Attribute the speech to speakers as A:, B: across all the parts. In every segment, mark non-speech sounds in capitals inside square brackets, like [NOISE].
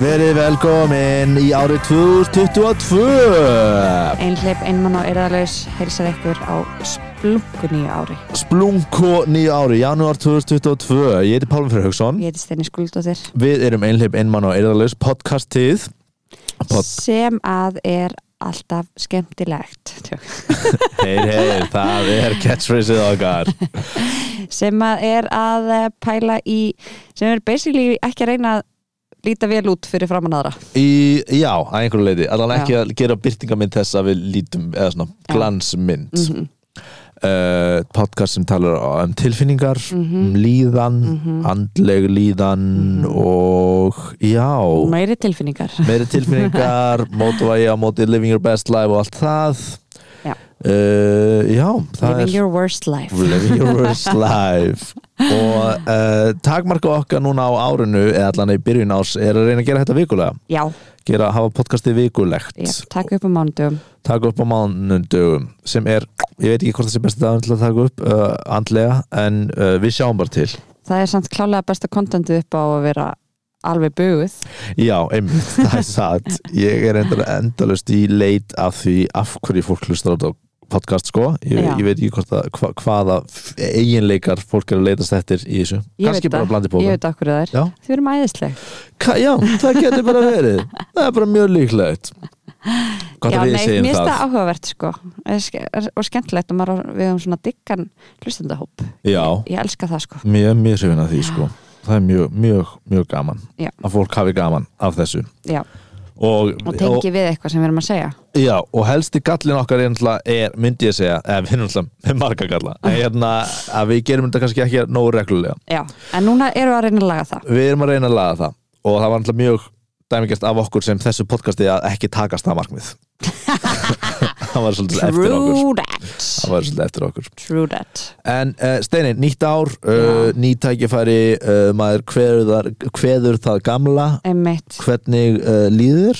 A: Verið velkomin í árið 2022
B: Einhleip, einmann og erðalaus heilsar ykkur á splunkuníu ári.
A: Splunko nýja ári, janúar 2022 Ég heiti Pálmi Freyr Hauksson
B: Ég heiti Steini Skuldóttir
A: Við erum einhleip einmann og eirðalaus podcastið Pod
B: sem að er alltaf
A: [LAUGHS]
B: skemmtilegt Tjók.
A: Heyr, heyr, það er catchphraseið okkar
B: sem að er að eh, pæla í sem er basically ekki að reyna að líta vel út fyrir framann aðra
A: í, Já, að einhverju leiti Allan
B: Já.
A: ekki að gera byrtingamynd þess að við lítum eða svona
B: Já.
A: glansmynd
B: mm
A: mm podcast sem talar um tilfinningar
B: Mhm.
A: um líðan, andleg líðan
B: Mhm.
A: og já
B: meiri
A: [LAUGHS]
B: tilfinningar
A: meiri
B: [LAUGHS]
A: tilfinningar, mótvægi á móti living your best life og allt það
B: Já.
A: Eh, já það
B: living
A: er
B: your worst life
A: living your
B: [LAUGHS]
A: worst life og uh, takmarka okkar núna á árinu eða allan í byrjun árs er að reyna að gera þetta vikulega
B: já,
A: gera, hafa podcastið vikulegt
B: já, taka upp á mánudum
A: taka upp á mánundugum sem er, ég veit ekki hvort það sé besti dagur til að taka upp uh, andlega en uh, við sjáum bara til
B: það er samt klálega besta kontentið upp á að vera alveg buguð
A: Já, einmitt, [LAUGHS] það er satt Ég er endur endalust í leit af því af hverju fólk hlustar á þetta podcast sko, ég,
B: Já.
A: ég veit ekki hvort að hva, hvaða f- eiginleikar fólk er að leitast eftir í þessu,
B: Ég
A: kannski
B: veit
A: bara
B: það.
A: blandi
B: ég
A: bóka
B: veit okkur það er,
A: Já.
B: þau eru mæðisleg
A: Ka, Já, það getur bara
B: [LAUGHS]
A: verið það er bara mjög líklegt Hvað
B: Já,
A: það við
B: nei,
A: segjum
B: mér finnst
A: það?
B: það áhugavert sko Er ske- er- og skemmtilegt og maður á- við höfum svona dikkan hlustendahóp,
A: Já,
B: ég elska það sko
A: mjög, mjög hrifin að því sko það er mjög, mjög, mjög gaman
B: Já.
A: að fólk hafi gaman af þessu
B: Já,
A: og,
B: og tengi við eitthvað sem við erum að segja
A: Já, og helsti gallin okkar er, náttúrulega- er myndi ég segja, eða við erum alltaf með marga galla, en hérna að við gerum þetta kannski ekki nógu reglulega.
B: Já, en núna erum við að reyna að laga það
A: Við erum að reyna að laga það og það var alltaf mjög dæmigest af okkur sem þessu podcasti að ekki takast það
B: [LAUGHS]
A: markmið. það var svolítið eftir okkur.
B: True
A: Það
B: that
A: var svolítið eftir okkur.
B: True that
A: En uh, Steini, nýtt ár, uh,
B: Já.
A: nýtt tækifæri, uh, maður kveður, þar, kveður það gamla,
B: Einmitt,
A: hvernig uh, líður?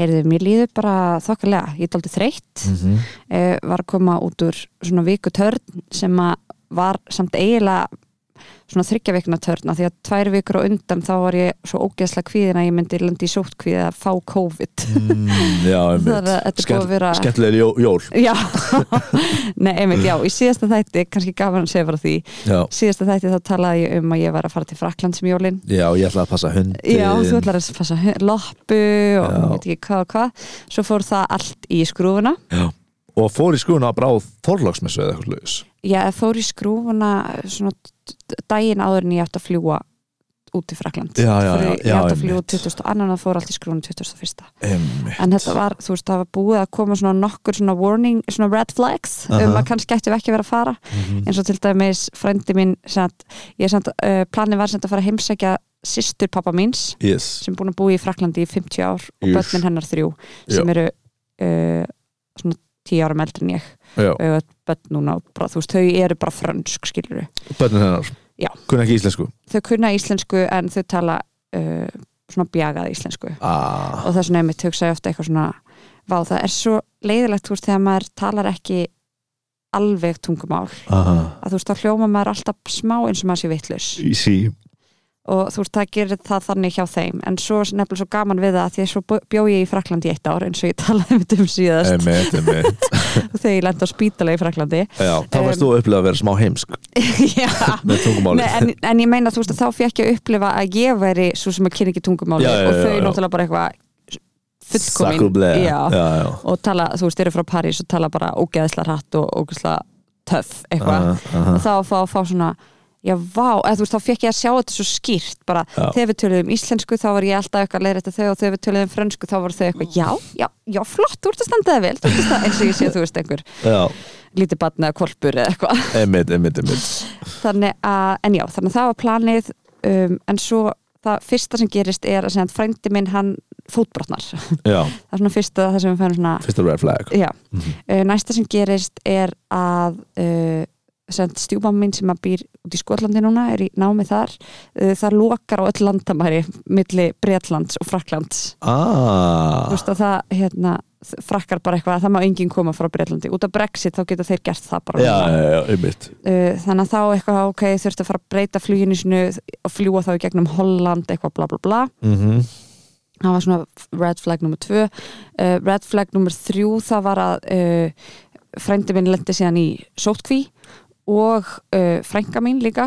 B: heyrðu, mér líður bara þokkalega, ég er aldrei þreytt
A: Mm -hmm.
B: eh, var að koma út úr svona viku törn sem að var samt eiginlega svona þryggja vikna törn af því að tvær vikur á undan þá var ég svo ógeðslega kvíðin að ég myndi landi í sótkvíði að fá COVID
A: Mm, já,
B: Það er
A: einmitt.
B: að- þetta er búið að vera-
A: skemmtilegri jó, jól.
B: Já, [LAUGHS] nei, einmitt, já, í síðasta þætti, kannski gaman að segja frá því
A: Já.
B: síðasta þætti þá talaði ég um að ég var að fara til Frakland sem jólin
A: Já, ég ætla að passa hundi
B: Já, þú ætlar að passa hu- loppu og
A: Já.
B: veit ekki hvað og hvað Svo fór það allt í skrúfuna
A: Og fór í skrúna bara á Þorlóksmessu eða eitthvað laus
B: Ég fór í skrúfuna svona t- t- daginn áður en ég átt að fljúa út í Frakland
A: Já, já,
B: Fór
A: já,
B: Ég
A: já,
B: átt að fljúa
A: einmitt.
B: 22. og fór allt í skrúfuna 21.
A: Emmi
B: En þetta var, þú veist, það var búið að koma svona nokkur svona warning, svona red flags um
A: Aha.
B: að kannski ættum við ekki að vera að fara
A: Mhm.
B: eins og til dæmis frændi minn satt, ég satt, uh, planið var samt að fara að heimsækja systur pappa míns
A: Yes
B: sem er búin að búi í Fraklandi í 50 ár og
A: Ís.
B: börnin hennar þrjú sem eru uh, svona 10 árum eldri en ég
A: Já,
B: og eiga börn núna og bara, þú veist, þau eru bara frönsk skilur
A: bönnin hennar
B: Já.
A: Kunna ekki íslensku
B: þau kunna íslensku en þau tala uh, svona bjagað íslensku
A: ah.
B: og þess vegna einmitt hugsa ég ofta eitthvað svona vá, það er svo leiðilegt þú veist þegar maður talar ekki alveg tungumál
A: Aha
B: að þú veist, þá hljóma maður alltaf smá eins og maður sé vitlaus
A: Sí
B: og þú veist, það gerir það þannig hjá þeim en svo er nefnilega svo gaman við það að því að svo bjó ég í Fraklandi í eitt ár eins og ég talaði um þetta um síðast
A: Emmi, emmi
B: þegar ég lendi á spítala í Fraklandi
A: Já, þá
B: Em.
A: fannst þú að upplega að vera smá heimsk
B: [LAUGHS] Já,
A: með tungumáli
B: Nei, en,
A: [LAUGHS]
B: en ég meina þú veist að þá fekk ég að upplifa að ég væri svo sem að kynni ekki tungumáli
A: Já, já, já,
B: og þau
A: já.
B: náttúrulega bara eitthvað fullkomin
A: Sakublega
B: Já.
A: já, já
B: og tala, þú veist, eru frá París og tala bara ógeðsla hratt og ógeðsla töff eitthvað
A: Aha, aha.
B: og þá að fá, fá svona já, vá, eða þú veist, þá fekk ég að sjá þetta svo skýrt bara,
A: Já.
B: þegar við töluðum íslensku þá var ég alltaf eitthvað að leiðrætt að þau og þegar við töluðum frönsku þá voru þau eitthvað, já, já, já, flott þú ert að standa það vel, þú ert að standa eins og ég sé, þú veist, einhver
A: Já,
B: lítið batna eða kolpur eða eitthvað, [LAUGHS]
A: emmi, emmi, emmi
B: þannig að en já, þannig að það var planið um, en svo það fyrsta sem gerist er að segja að frændi minn, hann fótbrotnar það
A: Já,
B: er svona fyrsta það sem við færum svona
A: fyrsta red flag
B: já,
A: Mhm.
B: uh, næsta sem gerist er að uh, stjúbam minn sem að býr út í Skotlandi núna er í námi þar uh, það lokar á öll landamæri milli Bretlands og Fraklands þú
A: Ah
B: veist að það hérna, þ- frakkar bara eitthvað að það má enginn koma frá Bretlandi út af Brexit þá geta þeir gert það bara
A: Já, já, já, einmitt
B: uh, þannig að þá eitthvað ok, þurfti að fara að breyta fluginu sinu og fljúa þá í gegnum Holland eitthvað bla bla bla
A: Mhm.
B: það var svona red flag nummer tvö uh, red flag nummer þrjú það var að uh, frændi minn lendi síðan í sótkví og uh, frænka mín líka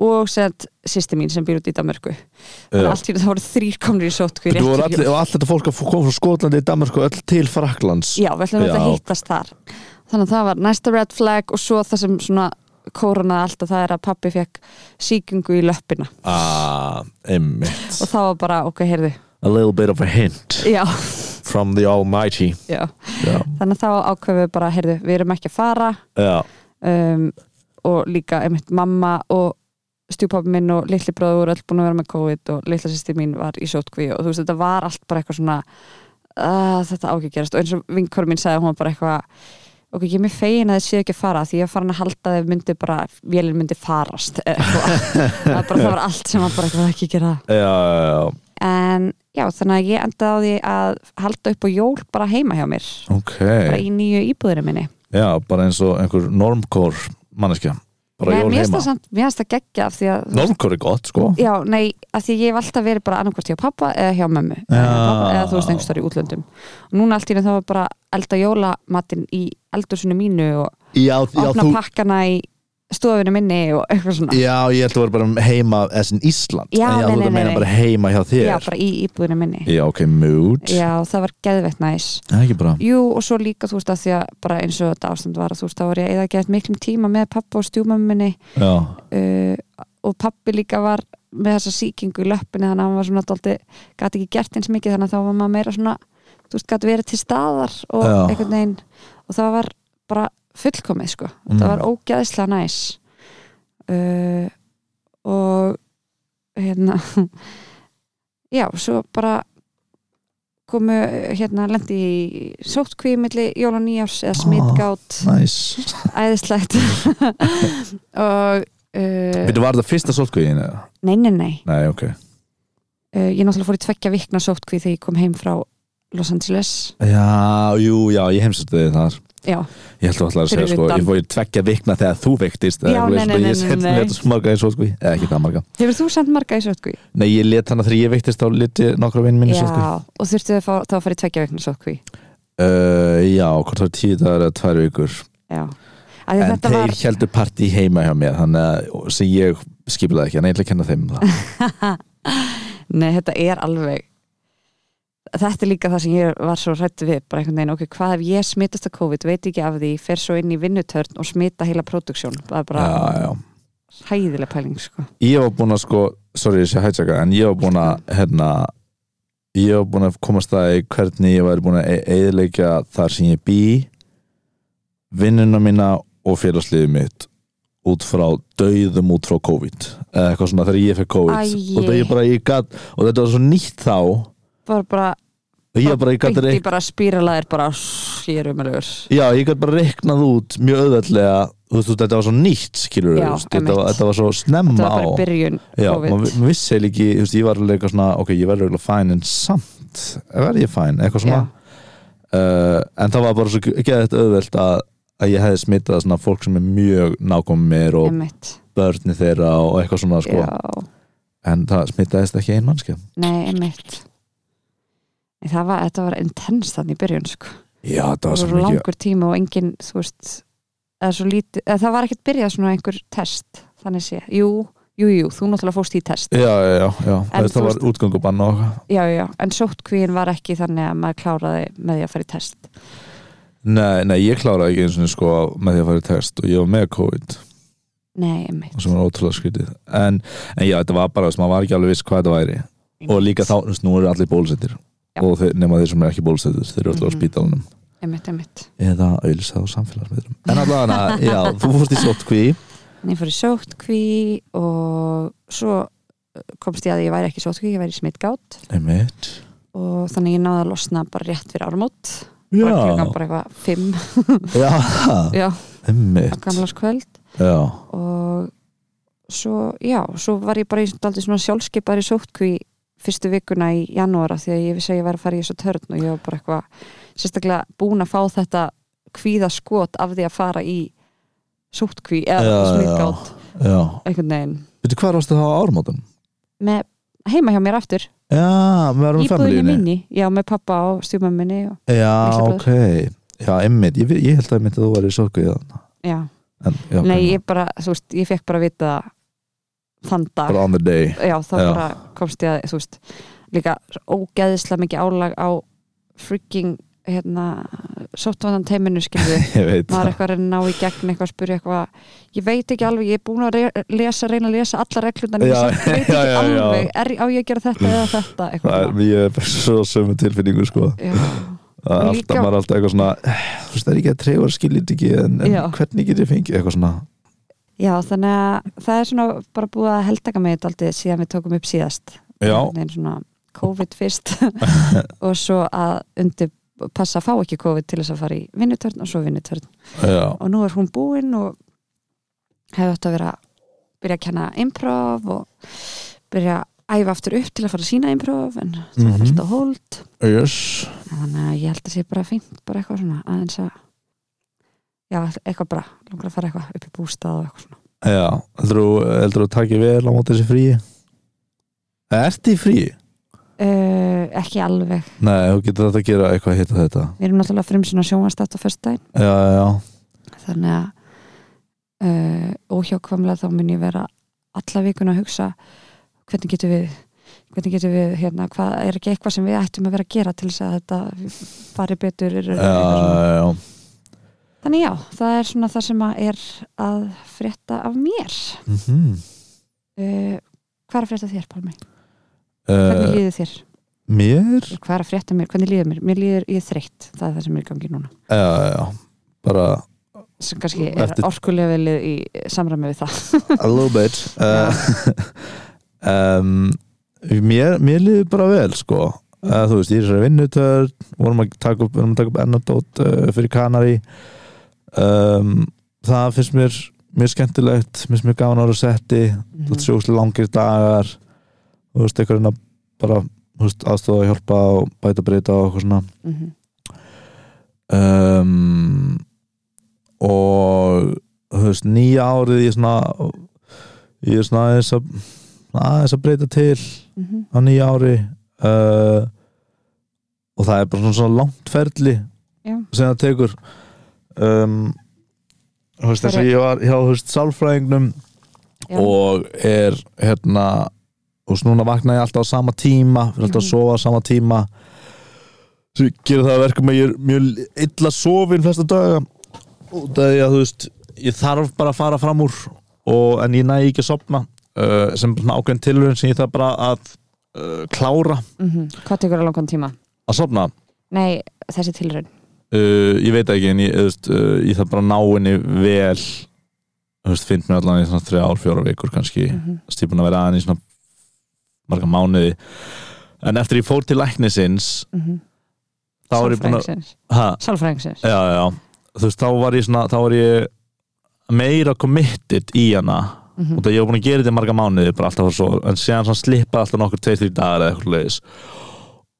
B: og sett sýsti mín sem býr út í Danmörku þannig að
A: Já.
B: allt í þetta voru þrýr komnir í sótkví
A: Þú voru allir, og allt þetta fólk að f- kom frá Skotlandi í Danmarku öll til Fraklands
B: já, við ætlum auðvitað
A: Já.
B: að hittast þar þannig að það var næsta red flag og svo það sem svona kórunaði alltaf það er að pappi fekk síkingu í löppina
A: ah, einmitt
B: og það var bara, ok, heyrðu
A: A little bit of a hint
B: já,
A: from the almighty
B: já.
A: Já,
B: þannig að þá ákveðum við bara, heyrðu, við erum ekki að fara
A: já,
B: um, og líka einmitt mamma og stjúpappi minn og litli bróður voru öll búin að vera með COVID og litla sýsti mín var í sótkví og þú veist þetta var allt bara eitthvað svona uh, þetta á ekki að gerast og eins og vinkorum mín sagði hún var bara eitthvað ok, ég er mér fegin að þið séu ekki að fara því ég var farin að halda að þið myndi bara vélinn myndi farast eða eitthvað
A: [LAUGHS]
B: það, var bara, það var allt sem var bara eitthvað ekki að gera
A: já, já, já.
B: en já, þannig að ég endaði á því að halda upp á jól bara heima hjá mér
A: Ok,
B: bara í nýju íbúðurinn minni
A: já, bara eins og einhver normkór manneskja bara
B: Nei,
A: jól
B: mér finnst
A: heima
B: það samt- mér finnst það geggja af því að þú
A: Normkór er gott, sko
B: Já, nei, að því ég hef alltaf verið bara annarkvort hjá pappa eða hjá mömmu eða, hjá
A: Já.
B: pappa, eða þú veist einhvers þar í útlöndum og núna allt í henni þá var bara elda jólamatinn í eldursunni mínu og
A: Já, já,
B: opna pakkana í stofinu minni og eitthvað svona
A: já, ég held að vera bara um heima essin Ísland,
B: Já,
A: en já,
B: nei,
A: þú ert
B: nei,
A: að meina
B: nei.
A: bara heima hjá þér
B: Já, bara í íbúðinu minni
A: Já, ok, mood
B: Já, það var geðveitt næs
A: Það er ekki bara
B: Jú, og svo líka þú veist að því að bara eins og þetta ástand var að þú veist þá var ég eða gett miklum tíma með pappa og stjúmömmu minni
A: Já,
B: uh, og pappi líka var með þessa sýkingu í löppinni þannig að hann var svona dólti, gæti ekki gert eins mikið þannig að þá var maður meira svona þú veist, gæti verið til staðar og
A: Já.
B: einhvern veginn og það var bara fullkomið sko, það var ógeðislega næs uh, og hérna [LAUGHS] já, svo bara komu, hérna, lendi í sótkvíi milli jól og nýjárs eða smitgát,
A: næs
B: æðislegt [LAUGHS] og uh,
A: Veitu, var það fyrsta sótkvíðin eða?
B: Nei, nei, nei.
A: Nei, ok
B: Uh, ég náttúrulega fór í tveggja vikna sótkvíð þegar ég kom heim frá Los Angeles.
A: Já, jú, já, ég heimsætti þig þar
B: Já,
A: Ég held að ætla að segja
B: Fyrir
A: sko,
B: utan.
A: ég fóði tveggja vikna þegar þú veiktist eða
B: Já,
A: eitthvað
B: nei,
A: svona,
B: nei, nei,
A: Ég seti
B: nei, nei.
A: leta svo marga í svo sko Eða ekki það marga
B: hefur þú sendt marga í sótkvíð?
A: Nei, ég let hana þegar ég veiktist þá leti nokkra vinn minni
B: Já,
A: svo sko
B: og þurftu þau þá að fara í tveggja vikna sótkvíð.
A: uh, Já, hvort var tíu dagar eða tvær vikur
B: Já, af því að
A: En
B: þetta
A: þeir
B: var,
A: heldur partí heima hjá mér Þannig að, og- sem ég skiplaði ekki En ég ætla að kenna þeim um það
B: [LAUGHS] nei, þetta er alveg, þetta er líka það sem ég var svo rætt við, bara einhvern veginn, ok, hvað ef ég smitast af COVID, veit ekki af því, fer svo inn í vinnutörn og smita heila próduksjón, það er bara
A: Já, já
B: hæðileg pæling, sko.
A: ég var búinn að sko sorry ég sé hætsaka en ég var búinn að hérna ég var búinn að komast að í hvernig ég var búinn að eðleika þar sem ég bý vinnuna mína og félagsliðið mitt út frá dauðum út frá COVID eða eitthvað svona þegar ég fekk COVID
B: Æi.
A: og það ég bara ég gat og þetta var svo nýtt þá og
B: Bara, bara,
A: ég bara ég gat
B: beint í
A: reik,
B: bara spíralaðir, bara, sss, ég er umölugur.
A: já ég gat bara reiknað út mjög auðveldlega þú veist þú, þetta var svo nýtt skilur
B: Já,
A: þetta, var-
B: einmitt.
A: þetta var svo snemma
B: Þetta var bara
A: á
B: byrjun
A: Já,
B: COVID.
A: maður maður vissi eiginlega ekki, þú veist, ég var alveg eitthvað svona, ok, ég verður eiginlega fæn en samt, verður ég fæn, eitthvað svona uh, en það var bara svo geðið auðvelt að, að ég hefði smitað svona fólk sem er mjög nákomið mér og
B: Einmitt.
A: börni þeirra og eitthvað svona, sko
B: Já,
A: en það smitaðist ekki ein mannskja
B: nei, einmitt Nei, Það var, þetta var intens þannig í byrjun sko.
A: Já, það var
B: Það
A: svo
B: var
A: mikið
B: langur tími og engin, þú veist eða svo lítið, eða það var ekkert byrjað svona einhver test, þannig sé Jú, jú, jú, þú náttúrulega fórst í test
A: Já, já, já, já.
B: En
A: Það,
B: þú
A: það var
B: veist-
A: útgöngubann og
B: Já, já, en sóttkvíin var ekki þannig að maður kláraði með því að fara í test
A: Nei, nei, ég kláraði ekki eins og sko með því að fara í test og ég var með COVID
B: Nei, einmitt
A: sem var ótrúlega skrítið en, en já, þetta var bara, þess, maður var ekki alveg viss hvað þetta væri og líka þá, þú veist, nú eru allir bólusettir
B: Já.
A: og þeir, nema þeir sem eru ekki bólusettir þeir eru alltaf á
B: Mhm.
A: spítalunum
B: Einmitt, einmitt
A: eða auðlisað á samfélagsmiðlum en allavega, já, þú fórst í sótkví
B: En ég fór í sóttkví og svo eh, komst ég að ég væri ekki í sóttkví, ég væri í smittgát
A: einmitt
B: og þannig ég náði að losna bara rétt fyrir áramót bara
A: já,
B: klukkan bara eitthvað fimm
A: já,
B: já, á
A: einmitt
B: gamlarskvöld
A: já,
B: og svo, já, svo var ég bara í aldrei svona sjálfskeipar í sótkví fyrstu vikuna í janúara því að ég vissi að ég var að fara í þessu törn og ég var bara eitthvað sérstaklega búin að fá þetta kvíða skot af því að fara í sótkví eða
A: Já, já.
B: smittgátt
A: já
B: einhvern veginn
A: veitu hvað varstu þá á ármótum?
B: með heima hjá mér aftur
A: Já, við varum í
B: Íbúðinni
A: familíunni
B: minni, já, með pappa og stjúmamminni og,
A: Já,
B: Litli
A: ok Já, einmitt, ég, ég held að einmitt að þú væri sokku í það
B: já.
A: en, já,
B: Nei,
A: ok.
B: ég bara, þú veist, ég fekk bara að vita það þann dag
A: Bara on the day [LAUGHS]
B: já, þá
A: Já.
B: bara komst ég að, þú veist líka ógeðislega mikið álag á freaking, hérna sóttvandan teiminu,
A: [LAUGHS]
B: skilðu
A: Ég veit
B: maður
A: það
B: er eitthvað að reyna að ná í gegn eitthvað að spyrja eitthvað ég veit ekki alveg, ég er búin að re- lesa reyna að lesa alla reglundan ég
A: Já,
B: samt
A: [LAUGHS]
B: veit ekki
A: já, já, já.
B: alveg, er, á ég að gera þetta eða þetta
A: Það er
B: eitthvað
A: mjög svo sömu tilfinningu sko
B: svona.
A: Það er
B: Og
A: alltaf,
B: líka-
A: maður er alltaf eitthvað svona eh, Þú veist, það er ekki að treyfa skiljið ekki en, en
B: Já.
A: hvernig get ég fengið eitthvað svona
B: já. já, þannig að það er svona bara búið að heldaka mig þetta aldrei síðan við tókum upp síðast
A: Já,
B: Einhvern veginn svona COVID
A: [LAUGHS]
B: fyrst og svo að undir passa að fá ekki COVID til þess að fara í vinnutörn og svo vinnutörn
A: já,
B: og nú er hún búin og hefði átt að vera byrja að kenna improv og byrja að æfa aftur upp til að fara að sína improv en það
A: Mhm.
B: var alltaf hold
A: yes
B: þannig að ég held að sé bara fínt bara eitthvað svona aðeins að já, eitthvað bara, langar að fara eitthvað upp í bústað og eitthvað svona
A: Já, heldur þú, heldur þú takið vel á móti þessi fríi? Ertu í fríi?
B: uh, ekki alveg,
A: Nei, þú getur þetta að gera eitthvað að hitta þetta
B: við erum náttúrulega frum svona sjónvastætt á föstudaginn
A: Já, já, já
B: þannig að uh, óhjákvamlega þá mun ég vera alla vikuna að hugsa hvernig getum við hvernig getum við, hérna, hvað er ekki eitthvað sem við ættum að vera að gera til þess að þetta fari betur er,
A: Já, já, já.
B: þannig já, það er svona það sem að er að frétta af mér
A: Mhm.
B: uh, hvað er að frétta af þér, Pálmi? hvernig
A: Uh,
B: líður þér?
A: mér
B: hvað er að frétta mér? hvernig líður mér? mér líður ég er þreytt, það er það sem er í gangi núna
A: já, já, já, bara
B: sem kannski er
A: Eftir-
B: Eftir... orkulevelið í samræmi við það
A: a little bit uh, [LAUGHS] um, mér, mér líður bara vel sko uh, þú veist, ég er sér að vinnutörn vorum að taka upp, vorum að taka upp ennardót uh, fyrir Kanari um, það finnst mér mjög skemmtilegt, mér finnst mér gaman ára setti
B: Mm.
A: þú veist, sjókslega langir dagar þú veist, eitthvað reyna bara þú veist, aðstofa að hjálpa og bæta breyta og eitthvað svona
B: mm -hmm.
A: um, og þú veist, nýja árið ég er svona ég er svona aðeins að aðeins að breyta til
B: Mm -hmm.
A: á nýja ári uh, og það er bara svona, svona langt ferli
B: Já.
A: sem það tekur um, þú veist, þess að ég var hjá þú veist, sálfræðingnum og er hérna og svo núna vakna ég alltaf á sama tíma fyrir alltaf að
B: Mhm.
A: sofa á sama tíma svo ég gerir það að verkum að ég er mjög illa sofin flesta daga og það er að þú veist ég þarf bara að fara fram úr og, en ég næ ekki að sofna uh, sem svona ákveðin tilhörun sem ég þarf bara að uh, klára
B: Mhm. Hvað tekur að langan tíma?
A: að sofna
B: Nei, þessi tilraun
A: uh, ég veit ekki en ég, þú veist, uh, ég þarf bara að ná henni vel þú veist, finnst mér allan í svona þrjár, fjóra vikur kannski
B: Mhm.
A: stýpun að vera aðeins í svona marga mánuði en eftir ég fór til læknisins
B: Mhm.
A: þá var ég búin að
B: Sálfræðingsins.
A: ha,
B: Sálfræðingsins
A: já, já, þú veist, þá var ég svona þá var ég meira committed í hana
B: Mhm.
A: og það ég var búin að gera þetta í marga mánuði bara alltaf svo, en séðan svona slippa alltaf nokkur tveir, þrjir dagar eða eitthvað leiðis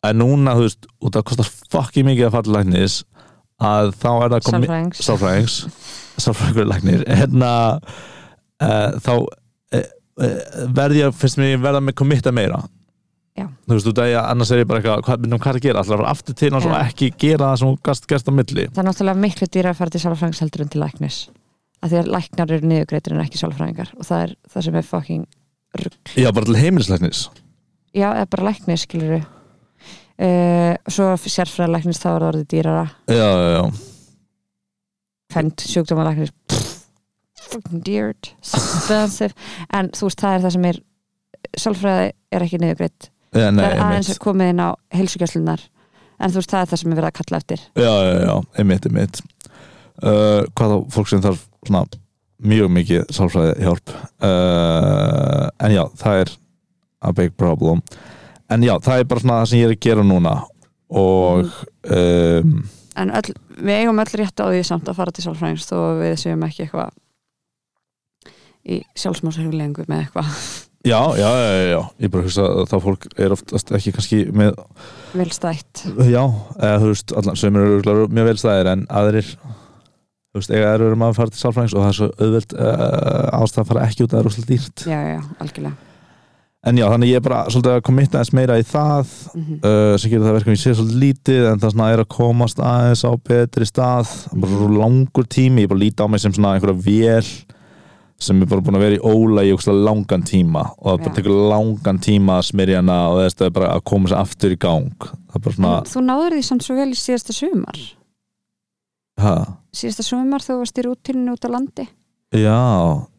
A: en núna, þú veist, og það kostar fucking mikið að fara til læknis að þá er það commi-
B: Sálfræðings
A: sálfræðings sálfræðingur lagnir hérna uh, þá uh, verð ég, finnst mér ég verða með kommitta meira
B: Já.
A: þú veist, þú dæja, annars er ég bara eitthvað hvað, myndum, hvað er að gera, alltaf að fara aftur til hans og
B: Já.
A: ekki gera það sem hún gast gert á milli
B: Það er náttúrulega miklu dýra að fara til sálfræðings heldur en til læknis að því að læknar eru niðurgreitir en ekki sálfræðingar og það er það sem er fucking rugg
A: já, bara til heimilislegnis
B: Já, eða bara læknis, skilur við uh, Svo sérfræðalæknis þá er það orðið dýrara
A: já, já, já,
B: fend sjúkdómalæknis fucking deared expensive, en þú veist það er það sem er sálfræði er ekki niðurgreitt
A: já, nei,
B: það er aðeins
A: einmitt
B: komið inn á heilsugjastlunar en þú veist það er það sem er verið að kalla eftir
A: já, já, já, einmitt, einmitt uh, hvað þá, fólk sem þarf svona mjög mikið sálfræði hjálp uh, en já, það er a big problem en já, það er bara svona það sem ég er að gera núna og um,
B: Mm. en öll, við eigum öll rétt á því samt að fara til sálfræðings þó að við séum ekki eitthvað í sjálfsmálsherfulengu með eitthvað
A: já, já, já, já, já ég bara hugsa að það fólk er oftast ekki kannski með,
B: velstætt
A: já, eða þú veist allan, sem eru örugglega mjög velstæðir en aðrir þú veist, eiga erur um að fara til sálfræðings og það er svo auðveld uh, ástæð að fara ekki út að það er úslega dýrt
B: já, já, algjörlega
A: en já, þannig ég er bara svolítið að komitta aðeins meira í það
B: Mhm.
A: uh, sem gerir það verkum ég sé svolítið lítið en það svona er að komast aðeins á betri stað bara svo langur tími, ég bara líti á mig sem svona einhverja vél sem er bara búin að vera í óla í ókslega langan tíma og það bara
B: Já.
A: tekur langan tíma að smyrja hana og þess að bara að koma sér aftur í gang það er bara svona,
B: En þú náður því samt svo vel í síðasta sumar
A: hæ,
B: síðasta sumar þú varst í rútinu út á landi
A: já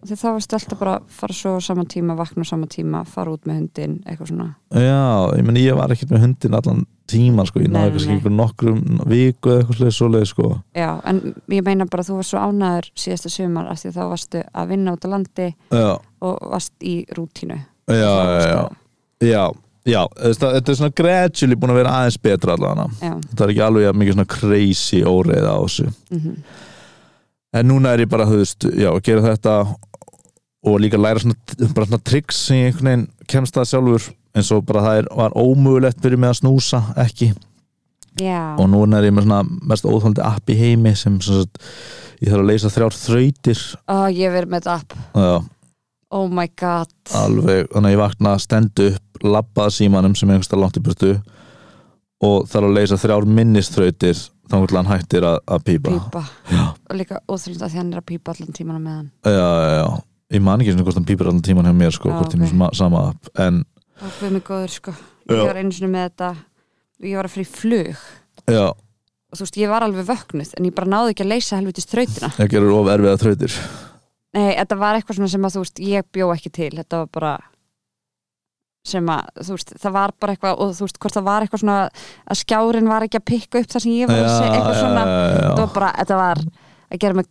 B: því þá varst alltaf bara að fara svo sama tíma vakna sama tíma, fara út með hundin eitthvað svona
A: Já, ég meni ég var ekkert með hundin allan tíman sko, ég
B: Nei,
A: náði
B: nei,
A: kannski
B: nei.
A: einhver nokkrum viku eða eitthvað svoleiðis, svoleiðis sko
B: Já, en ég meina bara að þú varst svo ánæður síðasta sumar af því að þá varstu að vinna út á landi
A: Já,
B: og varst í rútínu
A: já, já, já, já, já þú veist það- þetta er svona gradually búin að vera aðeins betra allan
B: já.
A: þetta er ekki alveg jafn mikið svona crazy óreiða á þessu
B: mhm.
A: en núna er ég bara, þú veist, já, að gera þetta og líka læra svona, bara svona tricks sem ég einhvern veginn kemst það sjálfur eins og bara það er, var ómögulegt fyrir mig að snúsa ekki
B: já.
A: og núna er ég með svona mest óþólandi app í heimi sem, sem sagt, ég þarf að leysa þrjár þrautir
B: Ó, ég hef verið með þetta app
A: já,
B: Oh my god
A: alveg, þannig að ég vakna stendu upp, labbaða símanum sem er einhversta langt í burtu og þarf að leysa þrjár minnistrautir þannig að hann hættir að, að pípa
B: Pípa Og líka óþrjónd að því hann er að pípa allan tíman á meðan
A: já, já, já, ég man ekki svona hvort hann pípar allan tíman hjá mér sko,
B: Já,
A: hvort ég er
B: ok.
A: með sama app en
B: Það fyrir mig góður sko
A: Já.
B: Ég var einu sinni með þetta Ég var að fyrir flug
A: já,
B: og þú veist, ég var alveg vöknuð en ég bara náði ekki að leysa helvitist þrautina
A: ég gerur of erfiða þrautir
B: Nei, þetta var eitthvað svona sem að þú veist ég bjó ekki til, þetta var bara sem að, þú veist, það var bara eitthvað og þú veist, hvort það var eitthvað svona að skjárin var ekki að pikka upp það sem ég var að segja eitthvað svona, þetta var bara, þetta var að gera mig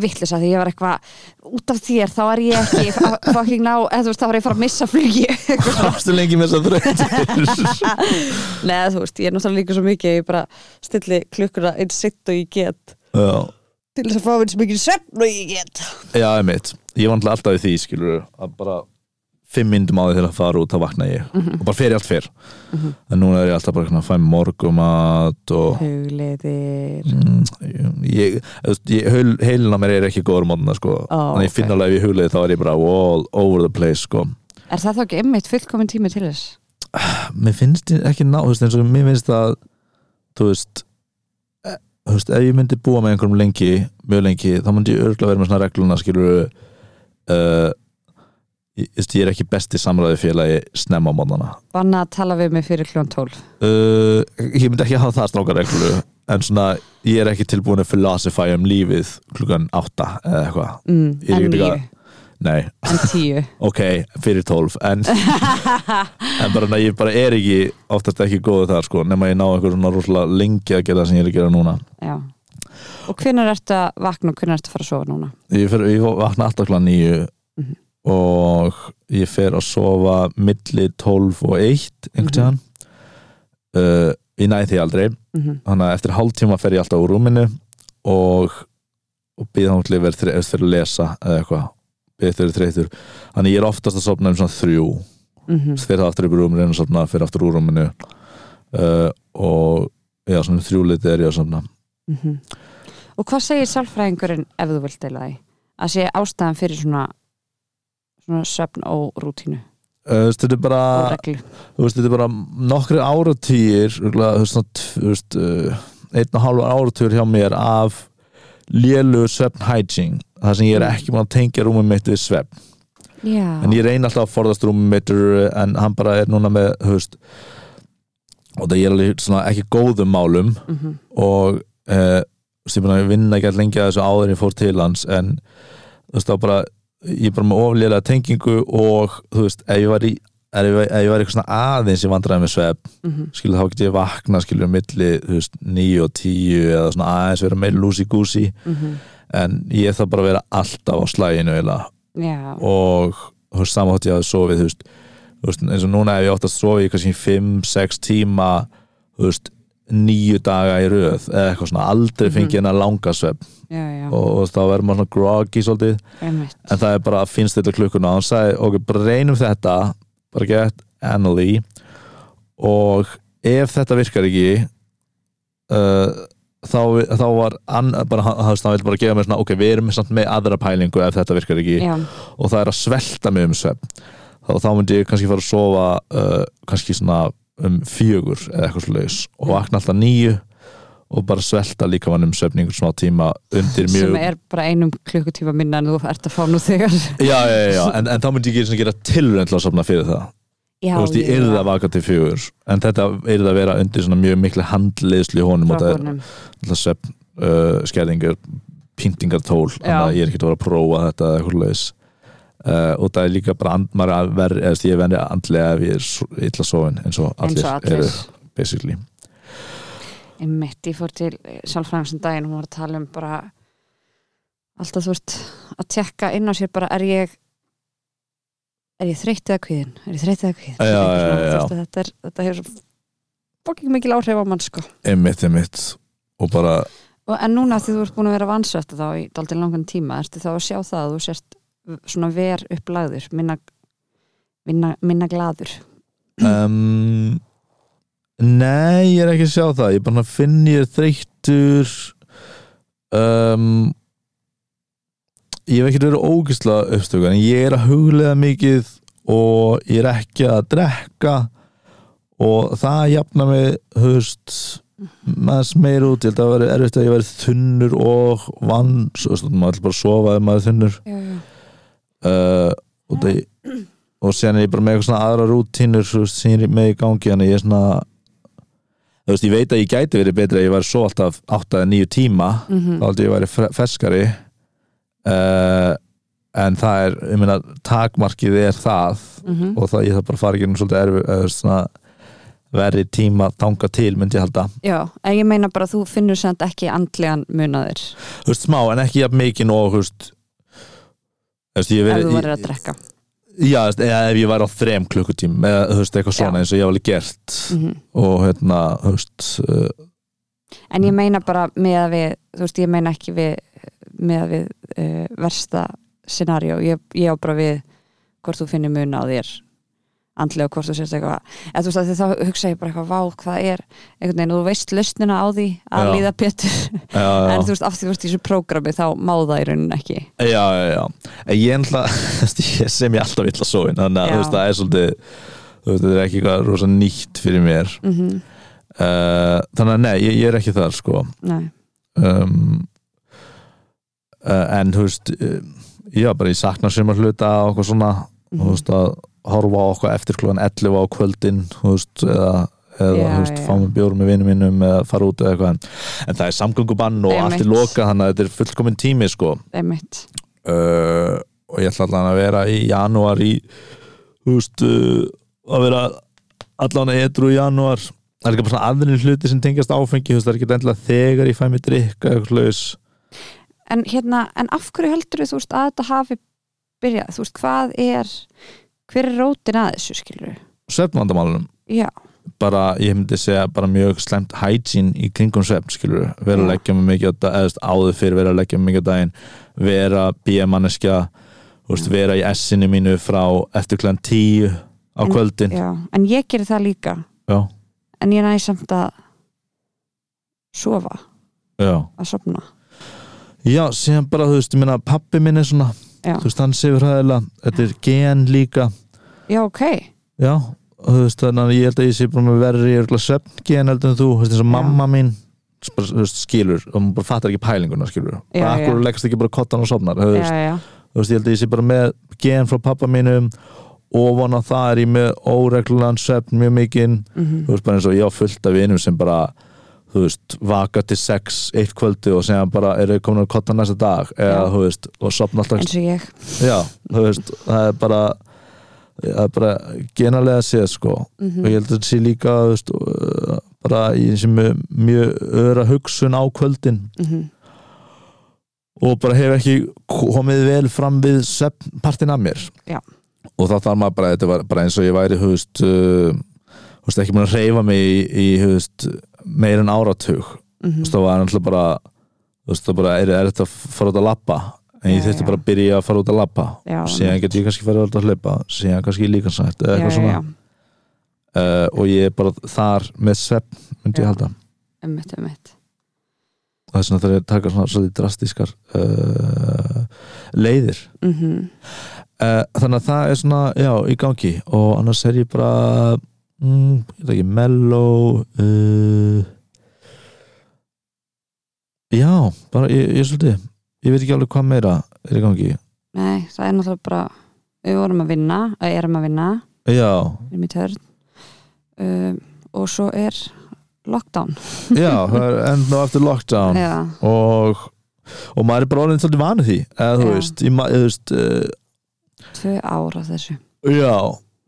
B: vittlisa því ég var eitthvað út af þér, þá er ég ekki að fucking ná, eða þú veist, þá var ég að fara að missa flugi [LAUGHS] eitthvað svona,
A: varstu lengi með þess að þrautir
B: [LAUGHS] neða þú veist, ég er náttúrulega líka svo mikið að ég bara stilli klukkuna eins sitt og ég get
A: já,
B: til þess að fá eins mikið svefn og ég get
A: já, ég mitt ég var náttúrulega alltaf í því, skilur að bara fimm myndum á því til að fara út þá vakna ég
B: Mhm.
A: og bara fer ég allt fyrr en núna er ég alltaf bara svona að fæ morgumat og
B: Hugleðir
A: Mm, ég, ég, ég, heil, heilin á mér er ekki góður mótna sko.
B: Ó,
A: þannig ég finn
B: ok.
A: alveg ef ég hugleiði þá er ég bara all over the place sko.
B: Er það þá ekki einmitt fullkomin tími til þess?
A: mér finnst ég ekki ná þú veist, eins og mér finnst að þú veist, e, þú veist ef ég myndi búa með einhverjum lengi, mjög lengi þá myndi ég örgulega vera með svona regluna skilur uh, ég, þú veist, ég er ekki besti samræði félagi snemma á mótnana
B: Banna að tala við mig fyrir kljóðan 12
A: uh, ég myndi ekki hafa það strákar reglu en svona ég er ekki tilbúin að philosophy um lífið klukkan átta eða eitthvað
B: mm,
A: Ég er
B: En
A: ekki
B: níu,
A: líka- Nei,
B: en tíu
A: ok, fyrir tólf en, en bara, nei, ég bara er ekki oftast ekki góðu þar sko nema ég ná einhver svona rosalega lengi að gera það sem ég er að gera núna
B: Já Og hvenær ertu að vakna og hvenær ertu að fara að sofa núna?
A: ég, fer, ég vakna alltaf klá nýju
B: Mhm.
A: og ég fer að sofa milli tólf og eitt einhvern tíðan uh, ég næði því aldrei
B: Mm
A: þannig að eftir hálftíma fer ég alltaf úr rúminu og, og býða hann til að vera þre- fyrir að lesa eða eitthvað býða þeirri þreytur þannig ég er oftast að sofna um svona þrjú
B: -hmm.
A: fyrir aftur upp í rúminu og sopna fyrir aftur úr rúminu uh, og já, svona þrjúleiti er ég að sopna
B: Mhm. Og hvað segir sálfræðingurinn ef þú vilt deila því? Að sé ástæðan fyrir svona svona svefn og rútínu
A: uh, veist, þetta er bara
B: og reglu
A: þú veist, þetta er bara nokkri áratýr uh, einn og halvar áratýr hjá mér af lélu svefn hygiene það sem ég er ekki mann að tengja rúmum mitt við svefn
B: Já,
A: en ég reyni alltaf að forðast rúmum mitt en hann bara er núna með þú veist, og það ég er alveg svona ekki góðum málum
B: Mhm.
A: og uh, sem ég vinna ekki alltaf lengi að þessu áður en ég fór til hans en þú veist þá bara ég er bara með oflélega tengingu og þú veist ef ég var í ef ég var, ef ég var eitthvað svona aðeins ég vandræði með svefn
B: Mhm.
A: skilur þá get ég vakna skilur milli þú veist 9 og 10 eða svona aðeins vera meira lúsi-gúsi
B: Mhm.
A: en ég þarf bara að vera alltaf á slæginu eiginlega
B: Já,
A: og þú veist, samhátt ég að sofið þú veist, þú veist, eins og núna ef ég átt að sofið í kannski 5-6 tíma þú veist, nýju daga í röð eða eitthvað svona, aldrei fengi hennar langa svepp
B: já, já,
A: og þú veist, þá verður maður svona groggy svolítið,
B: einmitt
A: en það er bara að finnst þetta klukkuna og hann sagði, ok, bara reynum þetta bara get anally og ef þetta virkar ekki uh, þá, þá var hann, bara, hann, hann, hann vil bara gefa mér svona, ok, við erum samt með aðra pælingu ef þetta virkar ekki
B: Já,
A: og það er að svelta mig um svefn og þá myndi ég kannski fara að sofa uh, kannski svona um fjögur eða eitthvað slags og vakna alltaf nýju og bara svelta líka mann um söfningur smá tíma undir mjög
B: sem er bara einum klukkutíma minna en þú ert að fá nú þegar
A: já, já, já, já, en, en þá myndi ég svona gera tilrönd til að safna fyrir það
B: Já,
A: þú veist, ég yrði að vaka til fjögur en þetta yrði að vera undir svona mjög miklu handleiðslu í honum og það er
B: Frábórnum.
A: alltaf svepp, uh, skerðingar pyntingartól, þannig
B: Já.
A: að ég er ekkert að vera að prófa þetta eða eitthvað leis uh, og það er líka bara and, maður er að verð, eða þú veist, ég er venni andlega ef ég er svo- illa sofin eins og
B: eins
A: allir,
B: og allir
A: eru basically
B: einmitt, ég fór til sjálfræðum sem daginn, hún var að tala um bara alltaf þú ert að tekka inn á sér bara er ég er ég þreytt eða kvíðin er ég þreytt eða kvíðin
A: Já, já, já, já.
B: Þetta, er, þetta hefur bókið mikil áhrif á mann sko
A: einmitt, einmitt og bara,
B: og, en núna því þú ert búin að vera vansvett þá í daldið langan tíma, ertu þá að sjá það að þú sért svona ver upplagður minna, minna, minna gladur
A: um, nei, ég er ekki að sjá það ég bara finn ég er þreyttur um, ég hef ekkert verið ógisla uppstöku en ég er að huglega mikið og ég er ekki að drekka og það jafna mig höfst maður meir út, ég held að það veri erfitt að ég veri þunnur og vann svo, þú veist, maður ætla bara að sofa ef maður er þunnur
B: já, já.
A: uh, og, það, og síðan er ég bara með eitthvað svona aðra rútínur þú veist, sem ég er með í gangi þannig að ég er svona þú veist, ég veit að ég gæti verið betri að ég væri svo alltaf 8 eða 9 tíma
B: Mm
A: þá held ég að ég væri fre- ferskari uh, en það er, ég meina, takmarkið er það
B: mhm.
A: og það ég þarf bara að fara ekki um svolítið erfi eða þú veist, svona verri tíma þanga til myndi ég halda
B: já, en ég meina bara að þú finnur samt ekki andlegan munaðir
A: þú veist, smá en ekki jafn mikið og þú veist þú veist, ég
B: ef
A: verið
B: þú verður að drekka
A: Já, þú veist, eða ef ég væri á þrem klukkutíma eða þú veist, eitthvað svona
B: Já.
A: eins og ég hef alveg gert
B: mm
A: og hérna, þú veist uh,
B: en ég meina bara með að við þú veist, ég meina ekki við með að við uh, versta scenario, ég, ég á bara við hvort þú finnir mun á þér andlega og hvort þú sérst eitthvað eða þú veist að því þá hugsa ég bara eitthvað vá hvað er einhvern veginn, þú veist lausnina á því að
A: Já.
B: líða betur,
A: já, já,
B: en þú veist af því þú veist í þessu prógrami þá má það í raunin ekki
A: já, já, já. En ég [LAUGHS] ennla, ég sem ég alltaf vill að sofin þannig að
B: Já.
A: þú veist, það er svolítið þú veist, þetta er ekki eitthvað rosa nýtt fyrir mér
B: mm
A: uh, þannig að nei, ég, ég er ekki þar sko
B: Nei,
A: um, uh, en þú veist uh, já, bara ég sakna sem að hluta og eitthvað svona og þú veist að horfa á okkur eftir klúan 11 á kvöldin þú veist, eða, eða
B: Já,
A: þú veist,
B: já.
A: fá með bjórum með vinnum mínum eða fara út eða eitthvað en, en það er samgöngubann og allt er
B: Einmitt.
A: lokað þannig að þetta er fullkomin tími sko
B: Mhm. einmitt
A: uh, og ég ætla allan að vera í janúar í þú veist uh, að vera allan að edru í janúar það er ekki bara svona aðrir hluti sem tengast áfengi þú veist, það er ekki endilega þegar ég fæ mig drikka eitthvað laus
B: en hérna, en af hverju heldur þú veist að þetta hafi byrjað, þú veist hvað er hver er rótin að þessu skilur
A: svefnvandamálunum
B: já,
A: bara, ég myndi segja, bara mjög slemt hygiene í kringum svefn, skilur vera að
B: Já.
A: leggja mig mikið á dag, eða þú veist, áður fyrir vera að leggja mig mikið á daginn, vera bíamanneskja, þú
B: Mm.
A: veist, vera í essinu mínu frá eftir klæðan tíu á
B: En-
A: kvöldin,
B: Mm, já, en ég gerir það líka
A: já,
B: en ég næ samt að sofa,
A: já
B: að sofna
A: já, síðan bara, þú veist, ég meina pappi minn er svona,
B: Já.
A: þú veist, hann sefur hæðilega þetta er gen líka,
B: já, ok,
A: já og þú veist, þannig að ég held að ég sé bara með verri svefn gen heldur en þú, þú veist, eins og
B: Já.
A: mamma mín bara, þú veist, skilur, og hún bara fattar ekki pælinguna skilur,
B: Já,
A: bara
B: já.
A: akkur leggst ekki bara kottan og sofnar, þú veist
B: já, já
A: þú veist, ég held að ég sé bara með gen frá pappa mínum ofan á það er ég með óreglunan svefn mjög mikinn,
B: mm
A: þú veist, bara eins og ég á fullt af vinum sem bara, þú veist, vaka til sex eitt kvöldi og segja bara eru þau komin að kotta næsta dag eða,
B: Já.
A: þú veist, og sopna alltaf,
B: eins og ég
A: já, þú veist það er bara það er bara genalega séð, sko
B: mm
A: og ég held að þetta sé líka, þú veist uh, bara í þessi mjög, mjög öra hugsun á kvöldin
B: Mhm.
A: og bara hef ekki komið vel fram við svefnpartin af mér
B: Já.
A: og þá þarf maður bara, þetta var bara eins og ég væri hufust, uh, hufust ekki múin að reyfa mig í, í hufust, meir en áratug mm.
B: Mhm.
A: þá var náttúrulega bara hufust, það bara er, er þetta að fara út að lappa en ég
B: Já,
A: þurfti
B: já.
A: bara að byrja að fara út að lappa
B: Já,
A: síðan
B: einmitt.
A: get ég kannski farið út að hlaupa síðan kannski líka sætt eða
B: já,
A: eitthvað
B: já,
A: svona
B: já,
A: Uh, og ég er bara þar með svefn myndi
B: Já.
A: ég halda
B: ummitt, ummitt
A: og þess vegna þarf ég að taka svona svolítið drastískar uh, leiðir
B: mm -hmm.
A: uh, þannig að það er svona, já, í gangi og annars er ég bara mm, ég veit ekki, mellow uh, já, bara ég, ég er svolítið, ég veit ekki alveg hvað meira er í gangi,
B: Nei, það er náttúrulega bara við vorum að vinna, eða erum að vinna
A: já
B: við erum í törn um, og svo er lockdown
A: já, það er enn og eftir lockdown
B: eða,
A: og og maður er bara orðin svolítið vanið því eða þú
B: Já.
A: veist, ég, ma- eða, þú veist uh,
B: tvö ár af þessu
A: Já,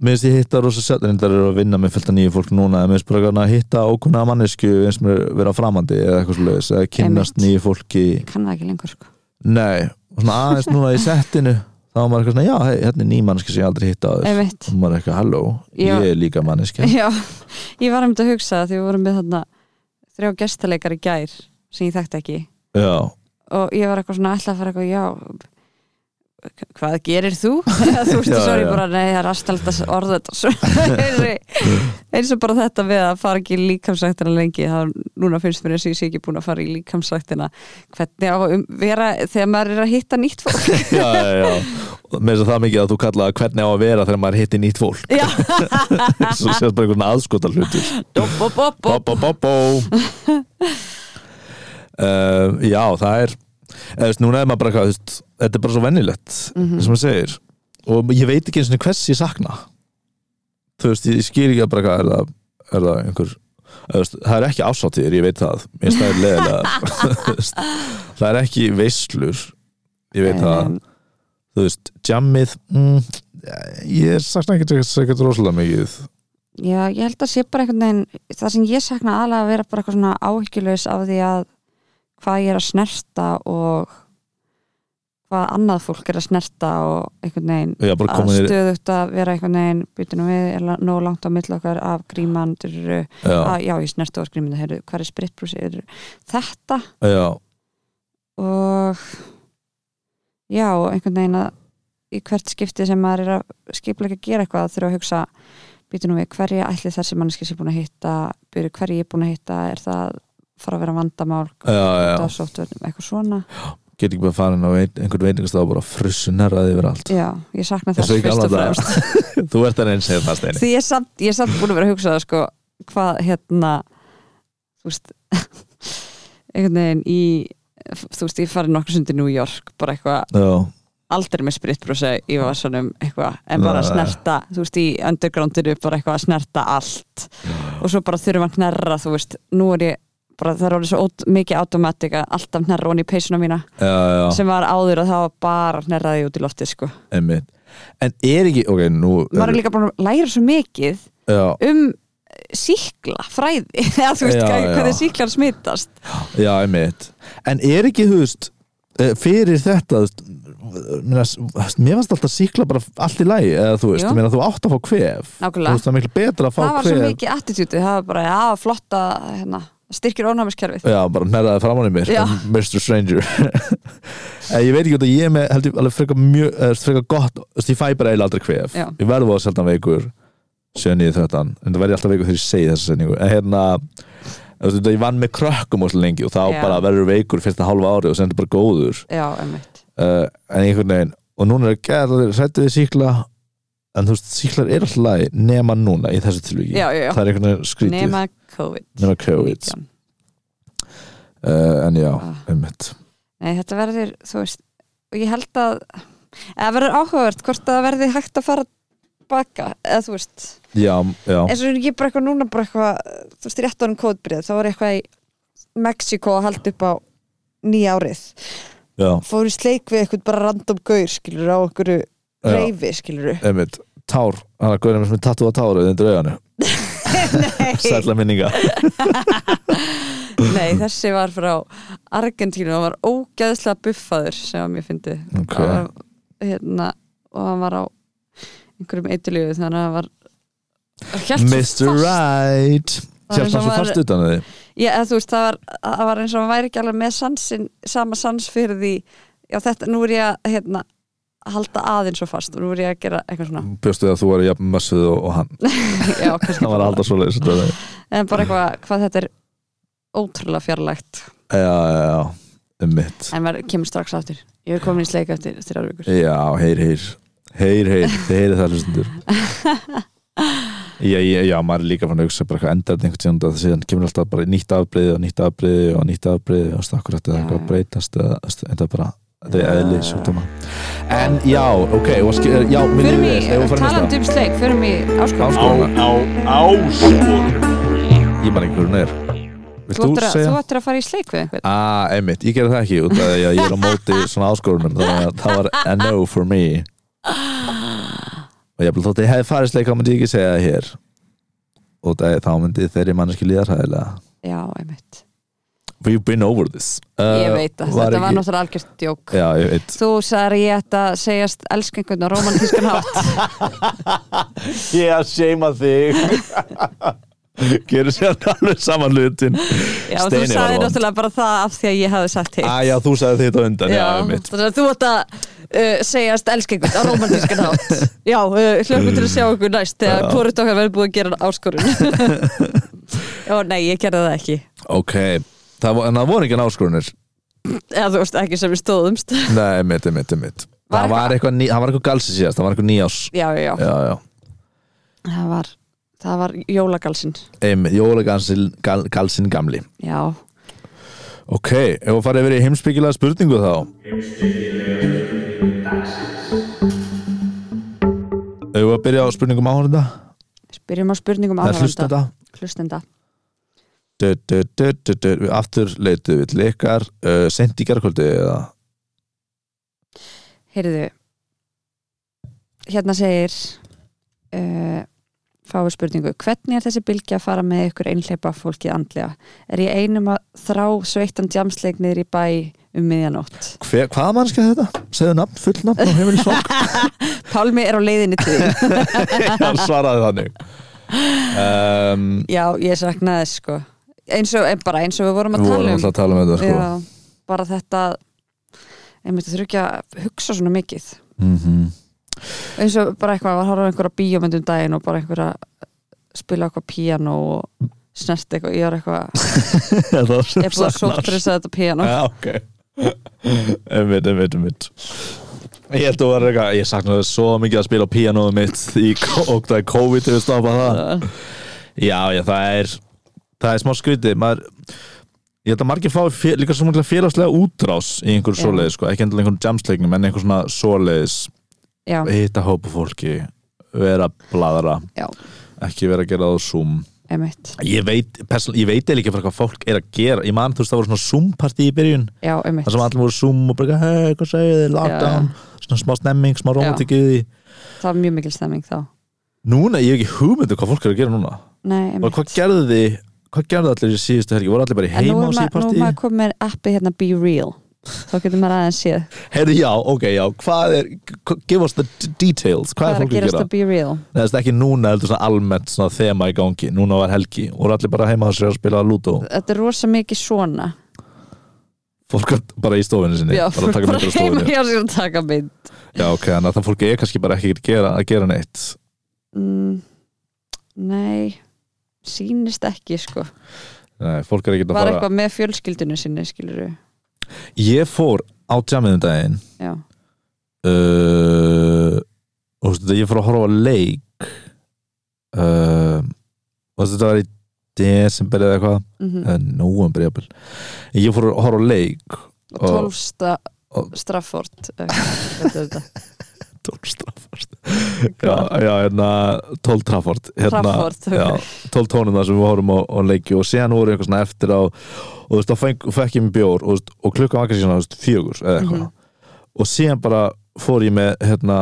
A: mér finnst ég hitta rosa sett en það eru að vinna með fullt af nýju fólk núna en mér finnst bara gaman að hitta ókunna mannesku eins og mér vera framandi eða eitthvað svo leiðis eða kynnast
B: Einmitt.
A: nýju fólki
B: ég kann það ekki lengur sko
A: Nei, og svona aðeins núna í settinu þá var maður eitthvað svona, já, hei, hérna er ný manneski sem ég aldrei hitta á þess
B: Einmitt.
A: og maður er eitthvað, halló,
B: Já.
A: ég er líka manneski
B: [LAUGHS] Já, ég var um þetta að hugsa það því við vorum með þarna þrjá gestaleikar í gær sem ég þekkti ekki
A: Já,
B: og ég var eitthvað svona ætla að fara eitthvað já hvað gerir þú? [LAUGHS] þú veist,
A: Já,
B: svo er
A: já.
B: ég bara, nei, það er rastalegt að orða þetta [LAUGHS] svo eins og bara þetta við að fara ekki í líkamsræktina lengi þá núna finnst mér eins og ég sé ekki búin að fara í líkamsræktina hvernig á að um, vera þegar maður er að hitta nýtt fólk [LAUGHS]
A: já, já, já Mér finnst það mikið að þú kallaði hvernig á að vera þegar maður hitti nýtt
B: [LAUGHS]
A: fólk
B: Já,
A: svo sést bara einhvern aðskotar hlutur
B: bop, bop, bop,
A: Bó,
B: bop
A: bó, bó, [LAUGHS] bó. uh, Já, það er eða, þú veist, Núna er maður bara eitthvað þú veist, Þetta er bara svo vennilegt
B: Mhm.
A: sem maður segir Og ég veit ekki eins og hvers ég sakna Þú veist, ég skil ekki að bara eitthvað Er það, er það einhver eða, þú veist, Það er ekki ásáttir, ég veit það Mér finnst það er [LAUGHS] leðilega Það er ekki veislur Ég veit það,
B: Um,
A: þú veist, jammið mm, Ég sakna ekki ekkert rosalega mikið
B: Já, ég held að sé bara einhvern veginn það sem ég sakna aðlega að vera bara eitthvað svona áhyggjulegs af því að hvað ég er að snerta og hvað annað fólk er að snerta og einhvern veginn
A: Já, bara
B: að
A: komin í
B: stöðugt að vera einhvern veginn býtunum við, er la- nóg langt á milli okkar af gríman, dururu,
A: Já,
B: að já ég snerti á gríminu, heyrðu, hvað er spritbrúsi dururu. þetta
A: já,
B: og já, og einhvern veginn að í hvert skipti sem maður er að skiplega að gera eitthvað þurfa að hugsa býtu nú við hverja ætli þessi manneski sem búin að hitta byrju hverju ég er búin að hitta er það fara að vera vandamál
A: já, já.
B: dásóttvörnum, eitthvað svona
A: get ekki bara farin á ein- einhvern veitingastaf og bara frussu nærraði yfir allt
B: já, ég sakna
A: Eins og
B: þess
A: í
B: fyrst
A: gamla
B: og
A: daga.
B: fremst
A: [LAUGHS]
B: [LAUGHS]
A: þú ert að reyna segja það steini
B: því ég er samt, ég er samt búin að vera að hugsa það, sko, hvað hérna þú veist [LAUGHS] einhvern veginn í þú veist, ég farið nokkuð sundi New York bara eitthvað
A: já,
B: aldrei með spritbrúsa í vasanum eitthvað, en bara að
A: Nei.
B: snerta þú veist, í undergroundinu bara eitthvað að snerta allt og svo bara þurfum að hnerra þú veist, nú er ég bara það er alveg svo ót, mikið automatik að alltaf hnerra honni í peysuna mína
A: já, já,
B: sem var áður að það var bara að hnerra því út í lofti sko.
A: einmitt en er ekki, ok, nú
B: maður er líka bara að læra svo mikið
A: já,
B: um síkla, fræði [LAUGHS] eða þú veist,
A: Já,
B: hvað,
A: já.
B: hvernig síklar smitast
A: já, einmitt en er ekki, þú veist eh, fyrir þetta, þú veist minna, mér fannst alltaf síkla bara allt í lagi eða þú veist,
B: Jú.
A: ég meina þú átt að fá kvef
B: Nákvæmlega.
A: þú veist, það er miklu betra að fá
B: það var svo
A: kvef
B: mikið attitúti, það var bara, já, flotta hérna, styrkir ónæmiskerfið
A: Já, bara nærðaði framan í mér
B: Já.
A: Mr. Stranger [LAUGHS] en Ég veit ekki út að ég er með held ég alveg frekar mjög eh, frekar gott, þú veist, ég fæ bara eiginlega aldrei kvef
B: Já.
A: Ég verði að seldan veikur 7.9.13, en það verði alltaf veikur þegar ég segi þessa sendingu en hérna þú veist, ég vann með krökkum og svo lengi og þá
B: Já.
A: bara verður veikur fyrsta hálfa ári og sem þetta bara góður
B: já, emmitt,
A: uh, en einhvern veginn og núna er að gera þetta sættu við síkla en þú veist, síklar er alltaf lagi nema núna í þessu tilvíki
B: já, já, já.
A: það er einhvern veginn skrítið
B: nema COVID
A: nema COVID uh,
B: 19.
A: en já,
B: Ah.
A: einmitt
B: Nei, þetta verður, þú veist og ég held að eða verður áhugavert hvort það verði hægt að fara baka, eða þú veist
A: Já, já,
B: eins og ég er bara eitthvað núna bara eitthvað, þú veist, rétt ánum kóðbrið þá var ég eitthvað í Mexiko að halda upp á nýja árið
A: já,
B: fór í sleik við eitthvað bara random gaur skilur á einhverju
A: Já.
B: reyfi
A: [LAUGHS]
B: skilur
A: einmitt Tár, hann að gauðið mér sem er tattu á táru undir auðanu,
B: nei,
A: sætla minninga
B: nei, þessi var frá Argentínu og var ógæðslega buffaður sem að mér fyndi
A: Ok,
B: okay. var, hérna, og hann var á einhverjum eitilíu þannig að hann var hann hélt svo
A: Mr.
B: fast.
A: Right Hjálpa
B: Það var eins og
A: svo
B: var-
A: fast utan að því
B: Já, eða þú veist, það var, það var eins og hann væri ekki alveg með sansin, sama sans fyrir því já þetta, nú er ég að hérna, halda aðeins svo fast og nú er ég að gera eitthvað svona [LAUGHS]
A: Bjóstu þið að þú væri jafn mössuð og, og hann
B: já, kannski
A: Hann var að halda svo leis Já,
B: en bara eitthvað, hvað þetta er ótrúlega fjarlægt
A: já, já, einmitt
B: en maður kemur strax aftur ég er komin í sleik eftir þrjár vikur
A: Já, heyr, heyr heyr, heyr, þið heyrið það hlustundur já, já, já, maður er líka fann að hugsa bara eitthvað endar þetta einhvern tíðan það síðan kemur alltaf bara nýtt afbreyði og nýtt afbreyði og nýtt afbreyði og stakkur þetta
B: Já,
A: eitthvað að
B: já.
A: breytast eða veist, þetta er bara, þetta er eðli sjúkdóma en já, ok, og skil, já, minnum
B: Förum
A: við þess,
B: í,
A: ef við farum næsta
B: talandi um sleik, förum í
C: Á,
B: áskorun
A: áskoruna,
C: á, áskorun
A: ég man ekki hvernig hún er vilt
B: Þú
A: þú
B: ættir að, þú
A: segja?
B: ættir að fara í sleik við einhvern
A: Ah, einmitt, ég gerði það ekki út af því að ég er á móti svona áskorunum þannig að það var a no for me
B: Ah.
A: og ég þótt að ég hefði farið sleik þá myndi ég ekki segja það hér og það, þá myndi þeirri manneski líða hræðilega
B: Já, einmitt
A: We've been over this
B: Ég veit það, þetta var
A: Uh, ekki-
B: náttúrulega algjört djók
A: Já, ég
B: [LAUGHS]
A: veit
B: Þú sagðir að ég ætti að segjast elska einhvern á romantískan hátt
A: [LAUGHS] Ég að seima þig [LAUGHS] Gerðu sér alveg saman hlutin
B: Já, þú
A: Steini var
B: sagðir
A: vond.
B: náttúrulega bara það af því að ég hafði sagt hitt
A: Æja, þú sagði þetta á undan Já,
B: Já,
A: einmitt
B: þannig að þú ætti að uh, segjast elskengut á romantískan
A: [LAUGHS]
B: hátt Já, uh, hlökkum til að sjá okkur næst þegar
A: Já.
B: hvort okkar verður búið að gera
A: [LAUGHS]
B: áskorun Já, nei, ég gerði það ekki
A: Ok, það, var- en það voru ekki náskorunir
B: eða þú veist ekki sem við stóðumst Já,
A: Nei, einmitt, einmitt, einmitt
B: Var
A: Það var eitthvað, ný, það var eitthvað galsi síðast, það var eitthvað nýjás
B: já, já,
A: Já, já,
B: Það, var, það var jólagalsinn
A: einmitt, jólagalsin gal, galsin gamli
B: Já,
A: Ok, ef við farið yfir í heimsbyggilega spurningu þá Heimsbyggilega dagsins Ef við að byrja á spurningum áhörnda
B: spyrjum á spurningum
A: Það er hlustenda
B: Hlustenda
A: du, du, du, du, du. Við aftur leituð við til ykkar uh, sent í gerkvöldi eða
B: Heyrðu Hérna segir uh, fáið spurningu Hvernig er þessi bylgi að fara með ykkur einhleipa fólkið andlega? Er ég einum að þrá sveittan djamsleik niður í bæ um miðjanótt?
A: Hver, Hvaða mannskja þetta? Segðu nafn, full nafn og heimilisfólk [LAUGHS]
B: Pálmi er á leiðinni til þín
A: Hann svaraði þannig um,
B: Já, ég saknaði þess sko eins og, eh, bara eins og við vorum að
A: Við
B: tala um
A: vorum alltaf að tala um þetta sko
B: Já, bara þetta einmitt þurfi ekki að hugsa svona mikið
A: mm
B: eins og bara eitthvað, var að horfa á einhverja bíómyndum daginn og bara einhverja spila eitthvað píano og snert eitthvað, ég var
A: [LAUGHS]
B: eitthvað
A: [LAUGHS] Það var
B: ég er búið að sótt fyrir þess að þetta píano
A: Já, ok [LAUGHS] Einmitt, einmitt, einmitt Ég held að þú var eitthvað, ég saknaði svo mikið að spila á píanóðu mitt í, og það er COVID hefur stoppað það Já, já, það er það er smá skrítið, maður ég held að margir fái fél, líka svo mjög félagslega útrás í einhver
B: Já.
A: svoleiðis, sko, ekki endilega einhvern jamsleiknum en einhver svona svoleiðis
B: Já,
A: hitta hópa fólki, vera bladra,
B: já,
A: ekki vera að gera það á Zoom
B: einmitt
A: Ég veit, persón, ég veit eða ekki fyrir hvað fólk er að gera ég man þú veist það voru svona Zoom-partí í byrjun
B: Já, einmitt
A: þar sem allir voru Zoom og bara hei, hvað segir þið, lockdown svona smá stemming, smá romantik í því
B: Það var mjög mikil stemming þá
A: Núna, ég hef ekki hugmyndu hvað fólk er að gera núna
B: Nei,
A: og
B: einmitt
A: hvað gerðu þið, hvað gerðu allir í síðustu helgi voru allir bara í
B: En nú
A: heima á
B: er
A: síðu
B: ma- nú er
A: partí
B: maður komið með appið hérna Be Real þá getur maður aðeins séð hvað,
A: Herri, já, ok, já, hvað er hva- give us the d- details, hvað er
B: er að
A: fólk að
B: gerast
A: gera
B: að Be Real
A: Nei, það er ekki núna, heldur svona almennt svona þema í gangi, núna var helgi voru allir bara heima á sér að spila Ludo
B: Þetta er rosa mikið svona
A: fólk var bara í stofunni sinni
B: Já,
A: bara að
B: [LAUGHS]
A: taka myndir á
B: heima
A: stofunni
B: hjá sér að taka mynd
A: Já, ok, þannig að það fólki er kannski bara ekki að gera, að gera neitt
B: mm, Nei sýnist ekki sko
A: Nei, fólk er ekki að
B: var
A: fara
B: eitthvað með fjölskyldinu sinni skilur
A: Ég fór á tjamiðum daginn
B: já,
A: uh, og þetta ég fór að horfa á leik uh, og þetta var í desember eða eitthvað
B: mm
A: eða nóvember jafnvel ég fór að horfa á leik
B: og
A: og-
B: tólfsta
A: og-
B: straffort
A: [LAUGHS]
B: eh, hvað er þetta?
A: tólstrafford já, já, hérna tóltrafford hérna,
B: Trafford, ok.
A: já, tól tónuna sem við horfum á, á leiki og síðan voru eitthvað svona eftir á og þú veist, þá feng- fekk ég mér bjór og, þú veist, og klukkan var kannski svona þú veist, fjögur eða eitthvað og síðan bara fór ég með hérna,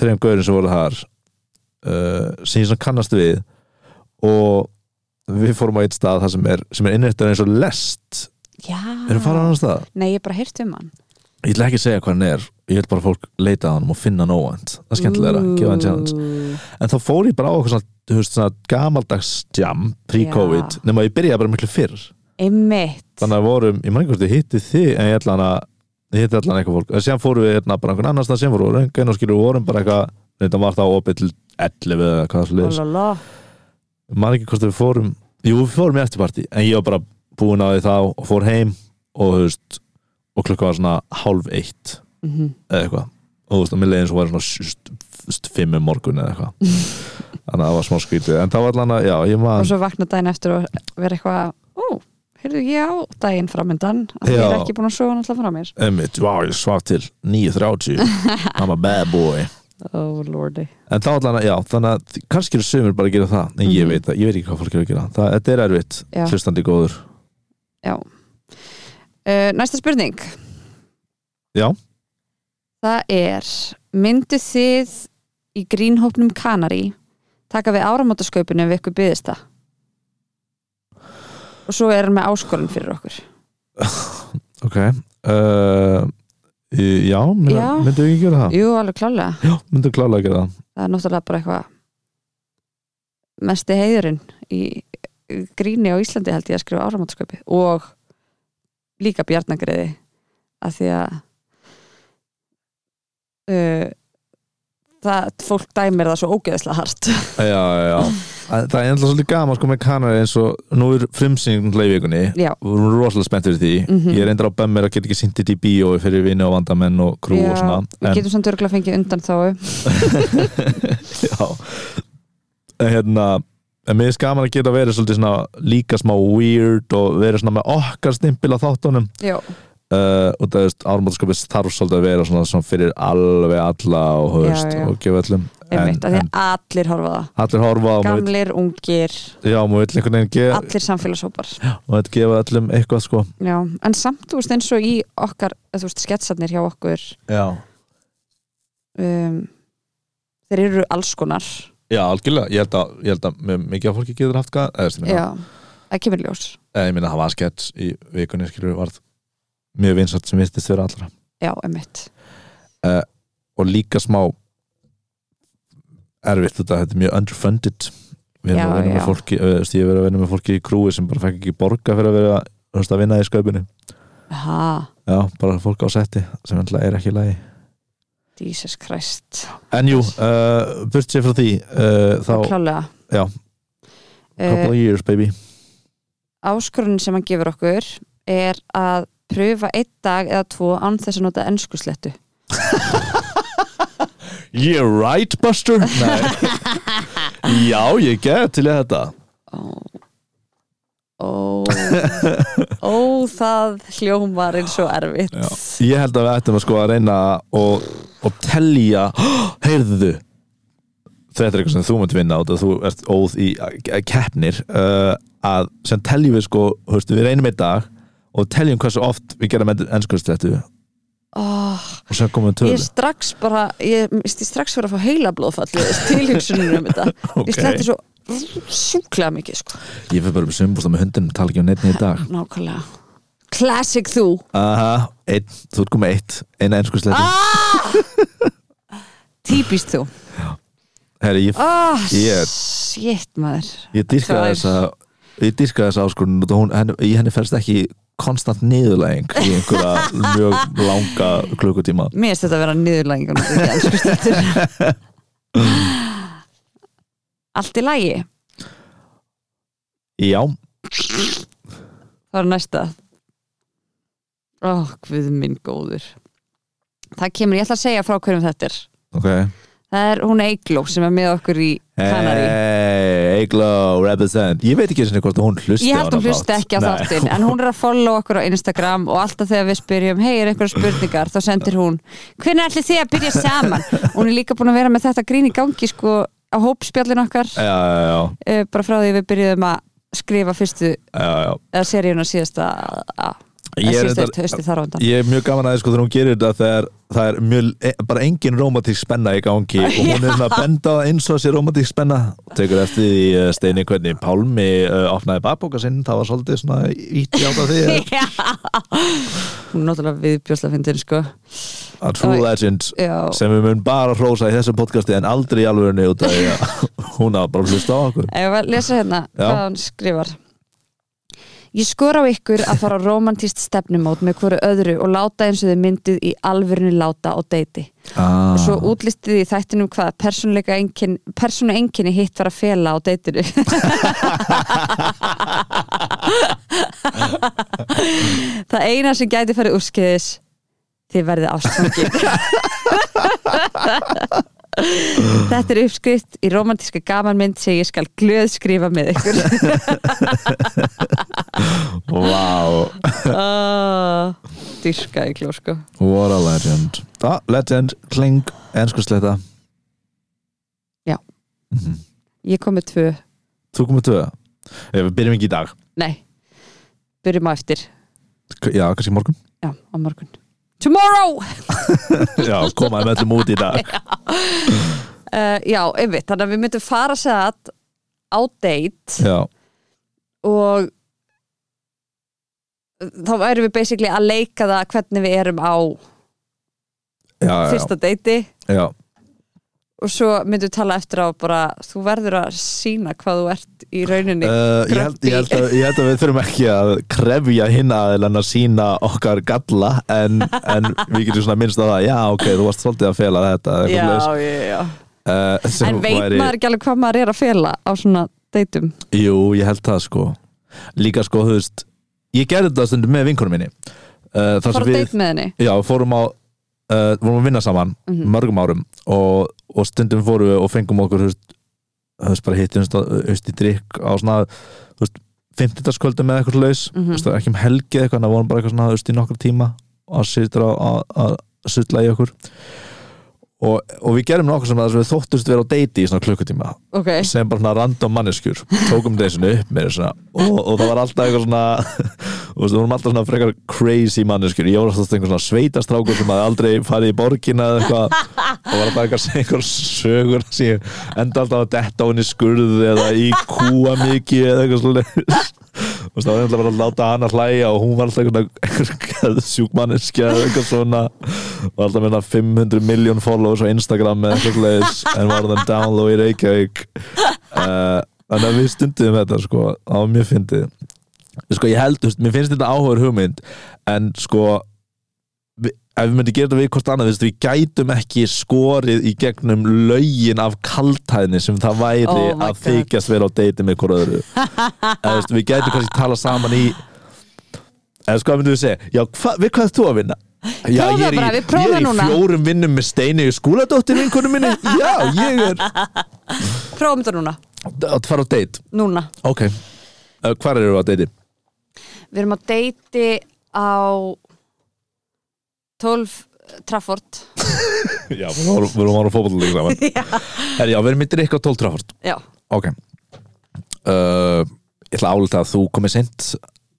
A: þreim gaurin sem voru þar uh, sem ég svona kannast við og við fórum á eitt stað þar sem er, sem er innrættur eins og lest erum farað
B: já,
A: annars stað?
B: nei ég bara heyrt um hann
A: Ég ætla ekki að segja hvað hann er ég ætla bara að fólk leita að hann og finna hann óvænt það er skemmtilegra, gefa hann challenge
B: Ú,
A: en þá fór ég bara á eitthvað svona, þú veist, svona gamaldags jam pre-covid
B: Já.
A: nema ég byrjaði bara miklu fyrr
B: einmitt
A: þannig að vorum, ég man ekki hvort ég hitti þig en ég ætla hann að ég hitti allan eitthvað fólk en síðan fórum við hérna bara einhvern annars það sem vorum við á röngan og skilur við vorum bara eitthvað þetta var þá opið til 11 eða hvað það sliðis
B: Ólala.
A: man ekki hvort við fórum jú við fórum í eftirparti en ég var bara búin á því þá og fór heim og þú veist og klukka var svona hálf eitt
B: Mhm.
A: eða eitthvað og þú veist, og mér leiði eins og væri svona st- st- fimm um morgun eða eitthvað
B: [LAUGHS]
A: þannig að það var smá skrítið, en það var allan að já, ég
B: og
A: maður,
B: svo vakna daginn eftir og vera eitthvað ó, heyrðu ég á daginn framöndan að ég er
A: Já.
B: ekki búin að sofa náttúrulega frá mér
A: emmitt, vá, ég svaf til
B: [LAUGHS]
A: 9.30, I'm a bad boy
B: oh lordi
A: en þá allan að, já, þannig að kannski eru sömur bara að gera það, en ég
B: Mhm.
A: veit það, ég veit ekki hvað fólk eru að gera, það, þetta er erfitt
B: Já.
A: hlustandi góður,
B: uh, næsta spurning
A: Já.
B: það er myndu þið í grínhópnum Kanari taka við áramótasköpun ef ykkur byðist það og svo er hann með áskorun fyrir okkur
A: ok uh, í- já, myndi,
B: Já.
A: myndi ekki gera það
B: jú, alveg klálega
A: já, myndi klálega að gera það
B: það er náttúrulega bara eitthvað mesti heiðurinn í í gríni á Íslandi held ég að skrifa áramátskaupi og líka bjarnagreði að því að uh, það, fólk dæmir það svo ógeðslega hart
A: Já, já,
B: [LAUGHS]
A: já. Að- Það er ennlega svolítið gaman sko með kanari eins og nú er frumsýning um í vikunni
B: já,
A: og við erum rosalega spennt fyrir því
B: Mhm.
A: ég er eindir á bömmir að geta ekki sýnt þetta í bíó fyrir vinni og vandamenn og krú
B: já
A: og svona
B: við getum samt örgulega fengið undan þá
A: [LAUGHS] já en hérna en mér er gaman að geta verið svolítið svona líka smá weird og verið svona með okkar stimpil á þáttunum
B: já,
A: uh, og það veist ármátskapið þarf svolítið að vera svona, svona fyrir alveg alla og, þú
B: Já,
A: veist,
B: já.
A: og gefa öllum
B: einmitt,
A: en,
B: að því
A: en
B: að allir horfa á það
A: allir horfa og maður vill-
B: gamlir, ungir,
A: já, maður vill einhvern veginn gefa,
B: allir samfélagshópar
A: maður vill gefa öllum eitthvað sko
B: já, en samt þú veist eins og í okkar þú veist sketsarnir hjá okkur
A: Já,
B: um, þeir eru alls konar
A: já algjörlega, ég held að, ég held að mjög mikið af fólki getur haft gæð eða, þú veist, ég meina-
B: já, það kemur í ljós
A: eða, Eh, ég meina það var skets í vikunni skilur varð mjög vinsalt sem virtist þeirra allra
B: já, emmitt
A: og líka smá erfitt þetta, þetta er mjög underfunded við erum
B: Já,
A: að vinna með
B: já.
A: fólki eh, þú veist, ég hef verið að vinna með fólki í krúi sem bara fekk ekki borga fyrir að vera þú veist, að vinna í sköpunni
B: ha,
A: já, bara fólk á setti sem alltaf er ekki í lagi
B: Jesus Christ
A: en jú, uh, burt sér frá því uh, þá,
B: klálega
A: já. couple
B: uh,
A: of years baby
B: áskorunin sem hann gefur okkur er að pröfa einn dag eða tvo án þess að nota ennskuslettu
A: Yeah right Buster [LAUGHS] Nei. Já ég get til í þetta
B: ó ó ó það hljómar eins og erfitt
A: Ég held að við ættum að sko að reyna og, og telja [GASPS] Heyrðu Þetta er eitthvað sem þú mátt vinna út og þú ert óð í eh, keppnir uh, að sem teljum við sko höfst, við reynum einn dag og teljum hversu oft við gerum ennskuðstettu og
B: ó,
A: sem komum við
B: ég
A: tölu
B: er strax bara ég, ég er strax fyrir að fá heila blóðfall tilhugsunum um þetta
A: Ok.
B: ég sletti svo sjúklega mikið sko.
A: Ég fyrir bara um sumbústa með hundinum tala ekki um neitt í dag
B: nákvæmlega classic þú
A: Aha, einn, þú ert komið eitt eina ennskuðstettu ah!
B: ah! típist þú
A: Herri, ég,
B: ah,
A: Ég er-
B: shit maður
A: ég dyrka
B: Tvær.
A: þessa ég dyrka þessa áskorun og hún, henni, í henni fælst ekki konstant niðurlæging í
B: [LAUGHS]
A: einhverja mjög langa klukkutíma
B: mér finnst þetta að vera niðurlæging [LAUGHS] allt í lagi
A: [LAUGHS] já,
B: það er næsta ó, guð minn góður það kemur, ég ætla að segja frá hverjum þetta er
A: ok
B: það er hún Eigló sem er með okkur í Kanarí
A: hey, Egló, represent ég veit ekki einu sinni hvort hún hlusti
B: Ég held hún hlusti ekki á þáttinn en hún er að follow okkur á Instagram og alltaf þegar við spyrjum, hei er einhverja spurningar þá sendir hún, hvernig ætli þið að byrja saman hún er líka búin að vera með þetta grín í gangi sko á hópspjallin okkar
A: já, já, já,
B: uh, bara frá því við byrjuðum að skrifa fyrstu,
A: já, já.
B: eða seríuna síðasta að
A: Ég, er
B: síðasta
A: reyndar-
B: eftir hausti þar á undan
A: ég er mjög gaman aðeins sko þegar hún gerir þetta þegar það er mjög, e, bara engin romantík spenna í gangi og hún er svona að benda á eins og sé romantík spenna og tekur eftir því eh, Steini hvernig Pálmi uh, opnaði babbóka sinn það var svolítið svona ítti á það því [LAUGHS] eh,
B: [LAUGHS] Já. hún er náttúrulega viðbjósla fyndin sko
A: A True Legend
B: Já.
A: sem við mun bara hrósa í þessu podcasti en aldrei í alvegurni út af því að [LAUGHS] hún hafa bara hlusta á okkur
B: Ef að lesa hérna
A: Já.
B: hvað hann skrifar Ég skora á ykkur að fara á romantist stefnumót með hverju öðru og láta eins og þið myndið í alvörinu láta og deiti.
A: ah.
B: Og svo útlistið í þættinum hvað persónuleika einkenni, persónu einkenni hitt var að fela á deitinu. Það eina sem gæti farið úrskeiðis þið verðið ástfangin Þetta er uppskrift í romantíska gamanmynd sem ég skal glöð skrifa með ykkur
A: Wow,
B: oh, Dyrka í sko. klósku
A: what a legend ah, Legend, kling, enskursleita
B: Já.
A: mm
B: Ég kom með tvö,
A: Þú komið tvö Ef við byrjum ekki í dag
B: nei Byrjum á eftir,
A: K- Já, kannski í morgun
B: já, á morgun Tomorrow!
A: [LAUGHS] Já, komaði með öllum út í dag
B: Uh, já, einmitt, þannig að við myndum fara sætt á date
A: [LAUGHS] Já,
B: og eh, þá værum við basically að leika það hvernig við erum á
A: já, já,
B: fyrsta deiti
A: já.
B: og svo myndum við tala eftir á bara þú verður að sína hvað þú ert í rauninni
A: Uh, ég, held, ég, held að, ég held að við þurfum ekki að krefja hinn aðeins að sína okkar galla en, en við getum svona minnst á það já ok, þú varst svolítið að fela þetta eða eitthvað svoleiðis.
B: já, já, já
A: uh, sem
B: en veit
A: væri-
B: maður ekki alveg hvað maður er að fela á svona deitum
A: Jú, ég held það sko Líka sko, þú veist Ég gerði þetta stundum með vinkonum minni uh, Þar
B: fara
A: sem
B: að
A: við,
B: date með henni
A: já, við fórum á uh, Vorum að vinna saman
B: Mhm.
A: Mörgum árum og, og stundum fórum við og fengum okkur Þú veist, þú veist bara hittum þú veist, í drikk á svona Þú veist, 50. skvöldum með eitthvað laus
B: Mhm.
A: mm -hmm. Ekki um helgi eitthvað, en það vorum bara eitthvað svona Þú veist, í nokkra tíma að sitja á- að að sulla í okkur og, og við gerum nokkuð sem að við þóttust vera á deiti í svona klukkutíma
B: ok,
A: sem bara svona random manneskjur tókum þessinu upp með svona og, og það var alltaf eitthvað svona [LAUGHS] og þú vorum alltaf svona frekar crazy manneskjur ég var alltaf einhver svona sveitastrákur sem hafði aldrei farið í borgina eða eitthvað og var alltaf eitthvað sem einhver sögur sem ég enda alltaf að detta á henni skurð eða í kúa mikið eða eitthvað svona [LAUGHS] og það var alltaf bara að láta hana hlæja og hún var alltaf einhver, einhver sjúkmanneskja eða eitthvað svona og alltaf meina 500 miljón followers á Instagram eða eitthvað leiðis en var þann download í Reykjavík Eh, þannig að við stundum þetta sko á mjög fyndið sko ég held, þú veist, mér finnst þetta áhugur hugmynd en sko við, ef við myndum gera þetta við hvort annað þú veist, við gætum ekki skorið í gegnum lögin af kaltæðni sem það væri
B: Oh my
A: að
B: God.
A: þykjast vera á deiti með hvort
B: [LAUGHS]
A: öðru eða þú veist, við gætum kannski tala saman í eða sko, hvað myndum við segja já, hva, við hvað ert þú að vinna? Já,
B: Prófaðu
A: ég er í,
B: bara, við
A: ég
B: prófum
A: er í
B: núna.
A: fjórum vinnum með steini skúladóttir vinkunum minni já, ég er
B: prófum þetta núna
A: að fara á date
B: núna,
A: Ok, uh, hvar eru við að deiti?
B: við erum á deiti á 12 Trafford
A: Já, við vorum- við vorum ára fótbolluleik [LAUGHS] saman Herri, já, við erum myndir ykkur á 12 trafort
B: já,
A: Ok uh, Ég ætla að álita að þú komið sent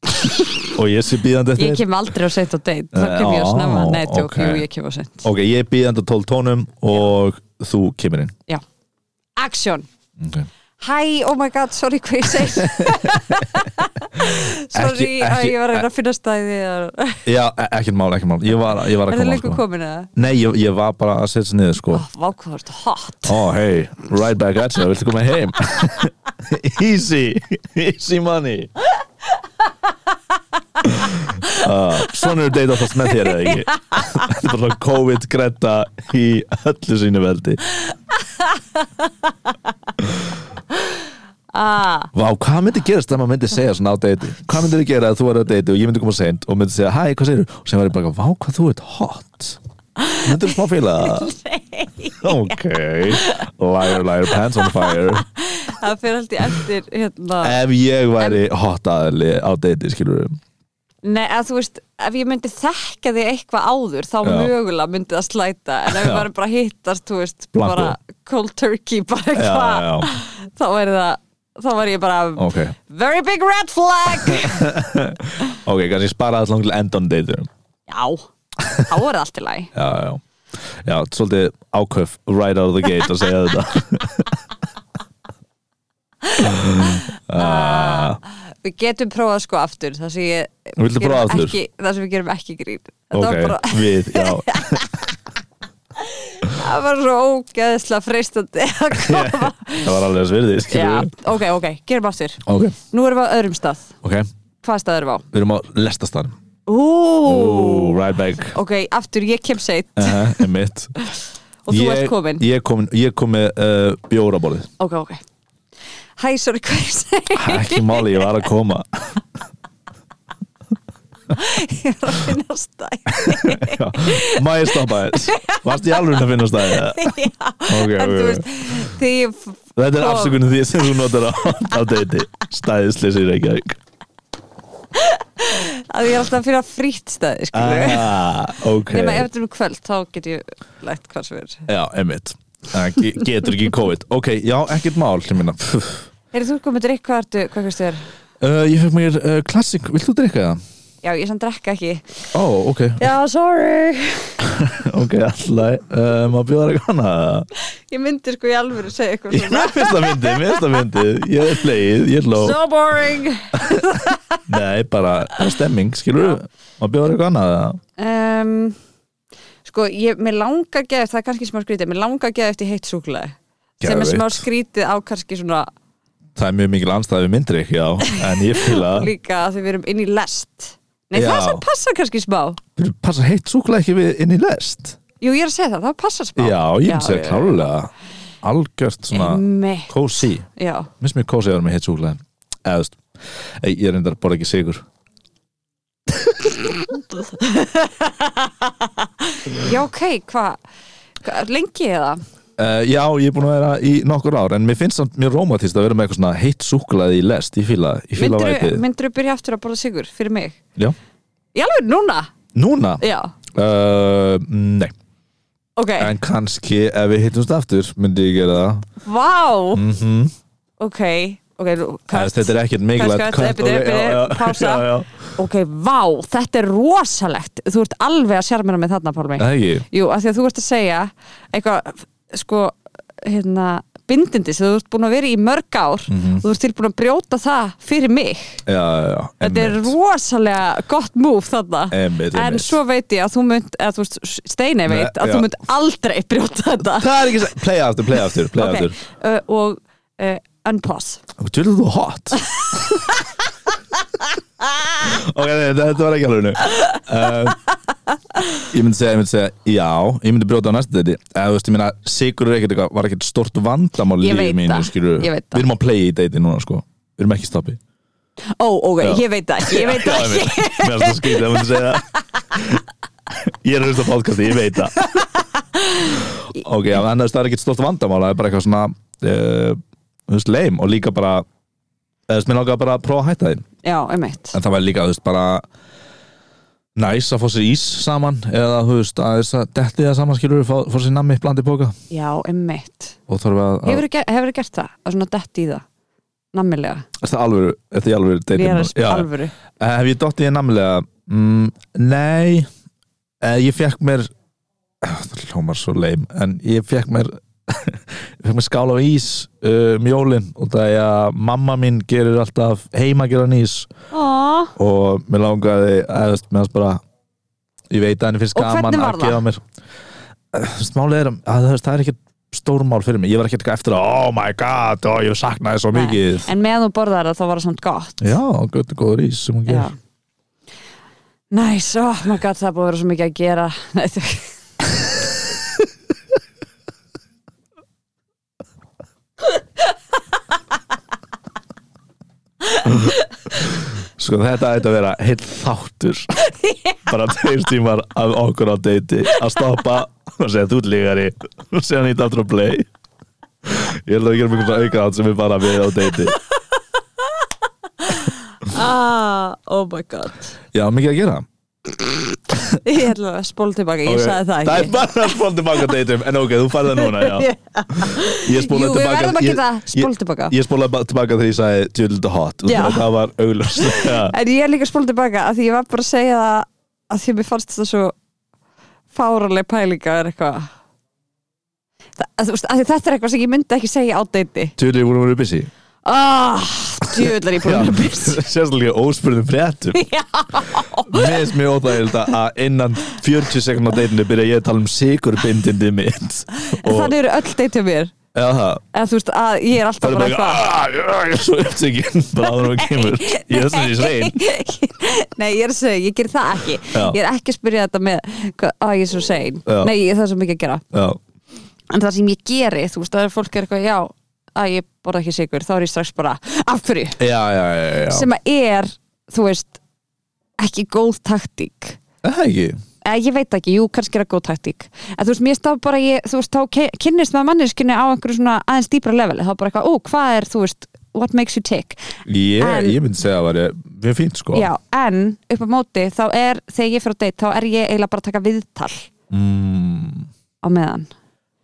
A: [LAUGHS] Og ég sé býðandi eftir
B: ég kem aldrei á seint á date þá kem ég á
A: Eh,
B: snemma,
A: á,
B: nei, tjók,
A: ok.
B: jú, ég kem á seint
A: Ok, ég er býðandi á 12 tónum Og þú kemur inn
B: já, action
A: okay.
B: Hæ, oh my god, sorry hvað ég
A: [LAUGHS]
B: segi Sorry,
A: Ekki-
B: að
A: ekki-
B: ég var að reyna að finna stæði Er
A: Já, e- ekkert mál, ekkert mál Ég var, ég var að
B: það
A: koma sko.
B: lengur komin eða?
A: Nei, ég, ég var bara að setja sér niður sko
B: Oh, vá, hvað þú ert hot
A: Ó, hey, right back at you, viltu koma heim? [LAUGHS] easy, easy money [LAUGHS] uh, Svona eru deyta fast með þér eða ekki Þetta er bara svona COVID-gretta í öllu sínu veldi
B: ah,
A: Vá, hvað myndi gerast ef maður myndi segja svona á deyti? Hvað myndir þið gera að þú er að deyti og ég myndi koma seint og myndi segja, hæ, hvað segirðu? Og sem var ég bara, vá, hvað þú ert hot Myndir þú smá fíla það? Ok, liar, liar, pants on fire
B: Það fyrir alltaf eftir hérna.
A: ef ég væri hot aðli á deiti skilur við
B: Nei, að þú veist, ef ég myndi þekka þig eitthvað áður þá
A: Já.
B: mögulega myndi það slæta en ef
A: Já.
B: við varum bara að hittast, þú veist
A: Blanko.
B: bara cold turkey, bara
A: já,
B: eitthvað
A: já,
B: þá væri það, þá væri ég bara
A: ok,
B: very big red flag [LAUGHS]
A: ok, kannski spara alls langt til end on date já,
B: Já, þá er það allt í lagi
A: já, já, svolítið áköf right out of the gate að segja þetta
B: [LAUGHS] Við getum prófað sko aftur Það sem, ég,
A: Viltu
B: gerum
A: prófa aftur?
B: Ekki, það sem við gerum ekki grín Þetta var bara, [LAUGHS]
A: ok, við, já,
B: það var svo ógeðslega
A: [LAUGHS]
B: freistandi að koma
A: það var alveg svirði
B: Já,
A: skilur við,
B: ok, ok, gerum aftur
A: ok,
B: Nú erum við á öðrum stað
A: ok
B: Hvað stað erum við á?
A: við erum á lestastanum
B: Ú,
A: Ooh, right back
B: ok, aftur ég kem seitt
A: Uh, mitt.
B: og þú ert komin
A: ég kom, ég kom með uh, bjóraborðið
B: Ok, ok Hæ, sorry, hvað ég segi
A: ekki máli, ég var að koma
B: [LAUGHS] ég er að finna stæði
A: [LAUGHS]
B: [LAUGHS]
A: Má ég stoppa þess? Varst ég alveg að finna
B: [LAUGHS]
A: stæði? Ok,
B: já, en
A: ok,
B: þú
A: ok
B: veist því ég
A: Þetta er
B: kom.
A: afsökunum því sem þú notar á, á deiti Stæðisleis í Reykjavík
B: að ég er alltaf að finna frýtt stæði skilur við
A: ah, Ok
B: nema ef þetta er um kvöld þá get ég lægt hvað sem er
A: Já, emitt Getur ekki COVID Ok, já, ekkert mál ég meina.
B: er þú komið drikk hvað ertu, hvað hverstu þér
A: uh, Ég fekk mér uh, klassik, vilt þú drikka það?
B: já ég sann drekka ekki
A: Ó, ok,
B: já sorry
A: ok, alltaf uh, Má bjóða þér eitthvað annað
B: ég myndi sko í alvöru segja eitthvað
A: Ég
B: svona
A: með fyrsta myndi, mér fyrsta myndi Ég er leið, ég hló
B: so boring
A: Nei, bara, bara stemming, skilur við Má bjóða þér eitthvað annað eða?
B: um, sko ég, mér langar að geða það er kannski smá skrítið, mér langar að geða eftir heitt súklaði sem er
A: Geðveikt.
B: smá skrítið á kannski svona
A: Það er mjög mikil anstæði við myndrykk, já En ég fýla
B: líka að því við erum inn í lest nei
A: Ah. Já.
B: það sem passa kannski smá
A: Byrju, Passa heitt súkulega ekki við inn í lest
B: jú ég er að segja það, það passa smá
A: Já, ég myndi segja
B: já.
A: klálega Algjört svona
B: Einmitt.
A: kósi
B: já,
A: Mér finnst mér kósi að vera með heitt súkulega Eða, þú veist, ei, ég er reyndar að borða ekki sigur
B: já ok, hvað hva, lengi ég það?
A: uh, Já, ég er búin að vera í nokkur ár En mér finnst samt mjög rómatist að vera með eitthvað svona heitt súkulega í lest Ég fýla, ég fýla vætið
B: myndur þú byrja aftur að borða sigur fyrir mig?
A: Já.
B: já alveg núna,
A: Núna,
B: já,
A: uh, nei
B: ok
A: En kannski ef við hittumst aftur myndi ég gera það
B: vá,
A: mm
B: ok ok, nú-
A: Kast. Þetta er ekkert mikilvægt
B: Kast, kast,
A: Kast,
B: epi,
A: ok,
B: epi,
A: já, já, [LAUGHS]
B: pása.
A: já, já.
B: Ok, vá, þetta er rosalegt Þú ert alveg að sjarmina með þarna, Pálmi
A: Það ekki
B: Jú, af því að þú ert að segja eitthvað, sko, hérna bindindi sem þú ert búin að vera í mörg ár
A: Mhm.
B: og þú ert tilbúin að brjóta það fyrir mig
A: Já, já, já
B: Þetta er rosalega gott múf þarna
A: Einmitt,
B: En
A: einmitt.
B: svo veit ég að þú mynd eða þú veist, Steini veit
A: Nei,
B: að
A: já.
B: þú mynd aldrei brjóta þetta
A: Það er ekki sætt Play aftur, play aftur, play
B: Ok,
A: aftur
B: uh, og uh, unpause
A: Þú tjóðir þú
B: [LAUGHS]
A: hot Ok, nei, þetta þetta var ekki alveg nú uh, Ég myndi segja, ég myndi segja Já, ég myndi brjóta á næsta þetta Eða þú veist, ég meina, sigur er ekkert eitthvað Var ekkert stort vandamál í
B: Ég
A: lífi
B: veit
A: mínu,
B: það,
A: skilur
B: ég veit það.
A: Við erum að playa í deiti núna, sko Við erum ekki stoppi
B: Ó, ok,
A: Já.
B: ég veit það ekki, ég veit
A: Já,
B: það
A: ég
B: ekki
A: veit það. Mér er það skrítið að maður segja það. Ég er að hlusta á podcasti, ég veit það Ok, já, en það er ekkert stort vandamál Það er bara eitthvað svona eh, Þú veist, leim og líka bara eða, Þú veist, mér langaði bara að prófa að hætta því
B: [LAUGHS] Já, einmitt
A: En það var líka, þú veist, bara Næs að fá sér ís saman Eða, þú veist, að þess að detti það saman skilur Fá, fá sér nammi bland í bóka
B: Já, einmitt
A: Og þarf að, að
B: Hefur þú gert það? Að svona dett í það? Nammilega?
A: Er það alvöru, er það alvöru
B: Ég
A: deitin
B: er að
A: núna? Já,
B: spila alvöru
A: Eh, Hef ég dottið í namlega? Mm, nei, eh, ég fekk mér Ah, Það hljómar svo leim En ég fekk mér, [LAUGHS] ég fekk mér skála á ís uh, um jólin og það er að mamma mín gerir alltaf heima geran ís
B: Ó,
A: og mér langaði að, þú veist, mér hans bara ég veit að henni finnst
B: Og
A: gaman
B: hvernig
A: að
B: var það?
A: gefa mér smálið er að að þú veist, það er ekkert stórmál fyrir mig ég var ekkert eitthvað eftir að oh my god oh, ég saknaði svo mikið
B: En meðan þú borðar það þá var það samt gott
A: Já, gott og góður ís sem hún gerir
B: Næs, ó, maður gæti það er búið að vera svo mikið að gera [LAUGHS] Nei, þú
A: Sko þetta ætti að vera heill
B: [LAUGHS]
A: þáttur bara tveir tímar af okkur á deiti að stoppa og segja þú ert lígari og segja nýtt aftur að play Ég held að við gerum einhvern svona auka átt sem við bara við á deiti
B: ah, Oh my god
A: Já, mikið að gera
B: Ég ætla að spóla tilbaka, ég
A: Ok,
B: sagði það
A: er
B: ekki
A: bara að spóla tilbaka á deitum en ok, þú færði það núna, já Ég
B: Jú,
A: spólaði
B: við
A: tilbaka
B: verðum að
A: ég-
B: geta
A: ég-
B: spóla tilbaka
A: Ég spólaði ba- tilbaka þegar ég sagði djúlita hot og
B: Já.
A: það var
B: [LAUGHS]
A: augljóslega
B: En ég er líka spóla tilbaka að því ég var bara að segja það að því að mér fannst það svo fáraleg pælinga er eitthvað Það- að þú veist, að því Þetta er eitthvað sem ég myndi ekki segja á deiti
A: Djúlita voru voru busy
B: Ah, djöðlar ég búin að vera busy
A: [LAUGHS] Sérstaklega óspurðum fréttum
B: [LAUGHS] Já,
A: Mér finnst mjög óþægild að innan 40 sekund á deitinu byrja ég að tala um sigurbindindi mitt og
B: þannig eru öll deytið mér
A: eða það
B: eða þú veist að ég er
A: það
B: alltaf
A: er
B: bara
A: bara eitthvað "Ah, ah, ég er svo
B: [LAUGHS]
A: upptökin bara áður og kemur ég er svona í svein
B: eitthvað [LAUGHS] Nei, ég er að segja, ég ger það ekki
A: Já.
B: Ég er ekki að spyrja þetta með hvað, að ég er svo sein
A: Já.
B: Nei, ég, það er svo mikið að gera
A: Já,
B: En það sem ég geri, þú veist, það er fólk er eitthvað Já, að ég borða ekki sigur, þá er ég strax bara Af hverju?
A: já, já, já, já.
B: Sem að er, þú veist ekki góð taktík
A: Það ekki
B: eða ég veit ekki, jú, kannski er það góð taktík en þú veist, mér stá bara, ég, þú veist, þá ke- kynnist maður manneskunni á einhverju svona aðeins dýpra leveli, þá bara eitthvað, ó, hvað er, þú veist what makes you tick,
A: Ég,
B: En-
A: ég myndi segja að það væri mjög fínt sko
B: já, en upp á móti, þá er, þegar ég fyrir að date, þá er ég eiginlega bara að taka viðtal
A: mm,
B: á meðan,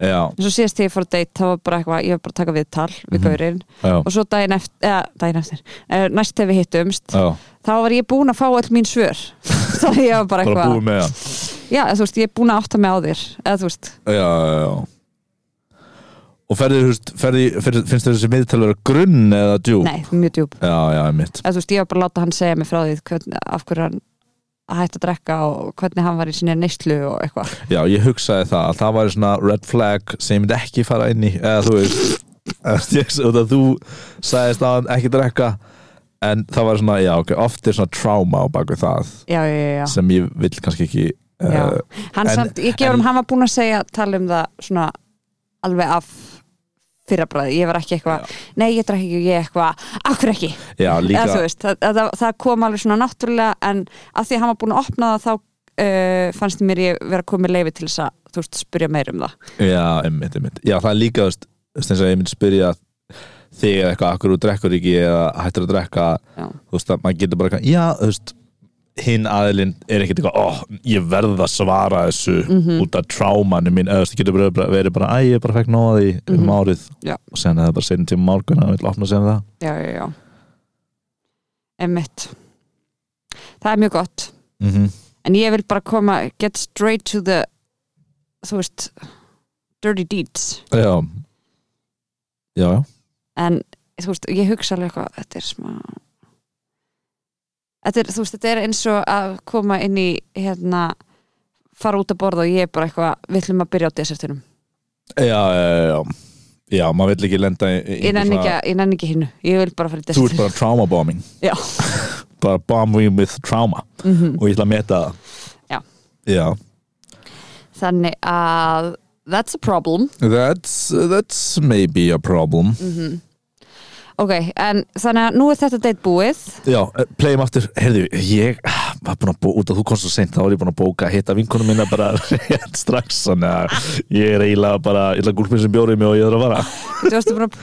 A: já,
B: eins og síðast þegar ég fyrir að date þá var bara eitthvað, ég var bara að taka viðtal við
A: Mhm.
B: gaurinn
A: já,
B: og svo daginn eftir, eða, daginn eftir eh, næst þegar við hittumst,
A: já
B: þá var ég búin að fá öll mín
A: [LAUGHS]
B: svör þá ég var bara
A: Bara
B: eitthvað
A: búið með hann
B: já, eða þú veist, ég er búin að átta mig á þér eða þú veist,
A: Já, já, já Og ferði, þú veist, ferði, ferði, finnst þér þessi miðtal vera grunn eða djúp?
B: nei, mjög djúb
A: Já, já, mitt
B: eða þú veist, ég var bara að láta hann segja mig frá því hvern, af hverju hann hætti að drekka og hvernig hann var í sinni neyslu og eitthvað
A: Já, ég hugsaði það að það væri svona red flag sem ég myndi ekki fara inn í eða þú veist [LAUGHS] ég, út að þú sagðist að hann ekki drekka en það var svona, já, ok, oft er svona tráma á bakvið það
B: já, já, já, já.
A: sem ég vil kannski ekki
B: já.
A: uh,
B: hann
A: en-
B: samt, ég gefur
A: en-
B: um hann var búin að segja tala um það svona alveg af fyrrabræði, ég var ekki eitthvað nei, ég drekka ekki, ég eitthvað, akkur ekki
A: Já, líka
B: eða þú veist, það, það, það kom alveg svona náttúrulega en að því að hann var búin að opna það þá uh, fannst mér ég vera komið leifi til þess að þú veist, spurja meir um það
A: Já, einmitt, einmitt. Já, það er líka, þú veist, þú veist, eins og ég myndi spyrja þig eða eitthvað, akkur þú drekkur ekki eða hættur að drekka,
B: Já.
A: þú veist, að maður getur bara eitthvað, já, þú veist, hinn aðilinn er ekkert eitthvað, ó, ég verð að svara þessu
B: Mhm.
A: út af trámanu mín, eða þú veist, það getur bara bara verið bara, æ, ég bara fekk nóða því um árið
B: Mhm. Já.
A: og sen að það er bara seinni tíma morgun að hann vil opna sig um það.
B: já, já, já emmitt það er mjög gott
A: Mm
B: en ég vil bara koma, get straight to the þú veist dirty deeds
A: Já, já, já.
B: en þú veist, ég hugsa alveg eitthvað þetta er smá þetta er, þú veist, þetta er eins og að koma inn í hérna fara út að borða og ég er bara eitthvað við ætlum að byrja á desertinum
A: Já, já, já, já. Já, maður vill ekki lenda í, í
B: ég nenni
A: einhver
B: ekki,
A: svona-
B: að- ég nenni ekki hinnu, ég vil bara fara í
A: Þú ert
B: desertinum
A: bara trauma bombing,
B: já,
A: [LAUGHS] bara bombing with trauma
B: mm
A: og ég ætla að meta það
B: Já.
A: Já.
B: þannig að that's a problem
A: That's, that's maybe a problem
B: ok, en þannig að nú er þetta date búið
A: Já, eh, playum aftur, heyrðu, ég ah, var búin að bóka, út að þú komst svo seint þá var ég búin að bóka að hitta vinkunum minna bara [LAUGHS] rétt strax, þannig að ég er eiginlega bara, ég ætla gúlpinn sem bjórið mig og ég þarf að fara
B: þú varstu búin að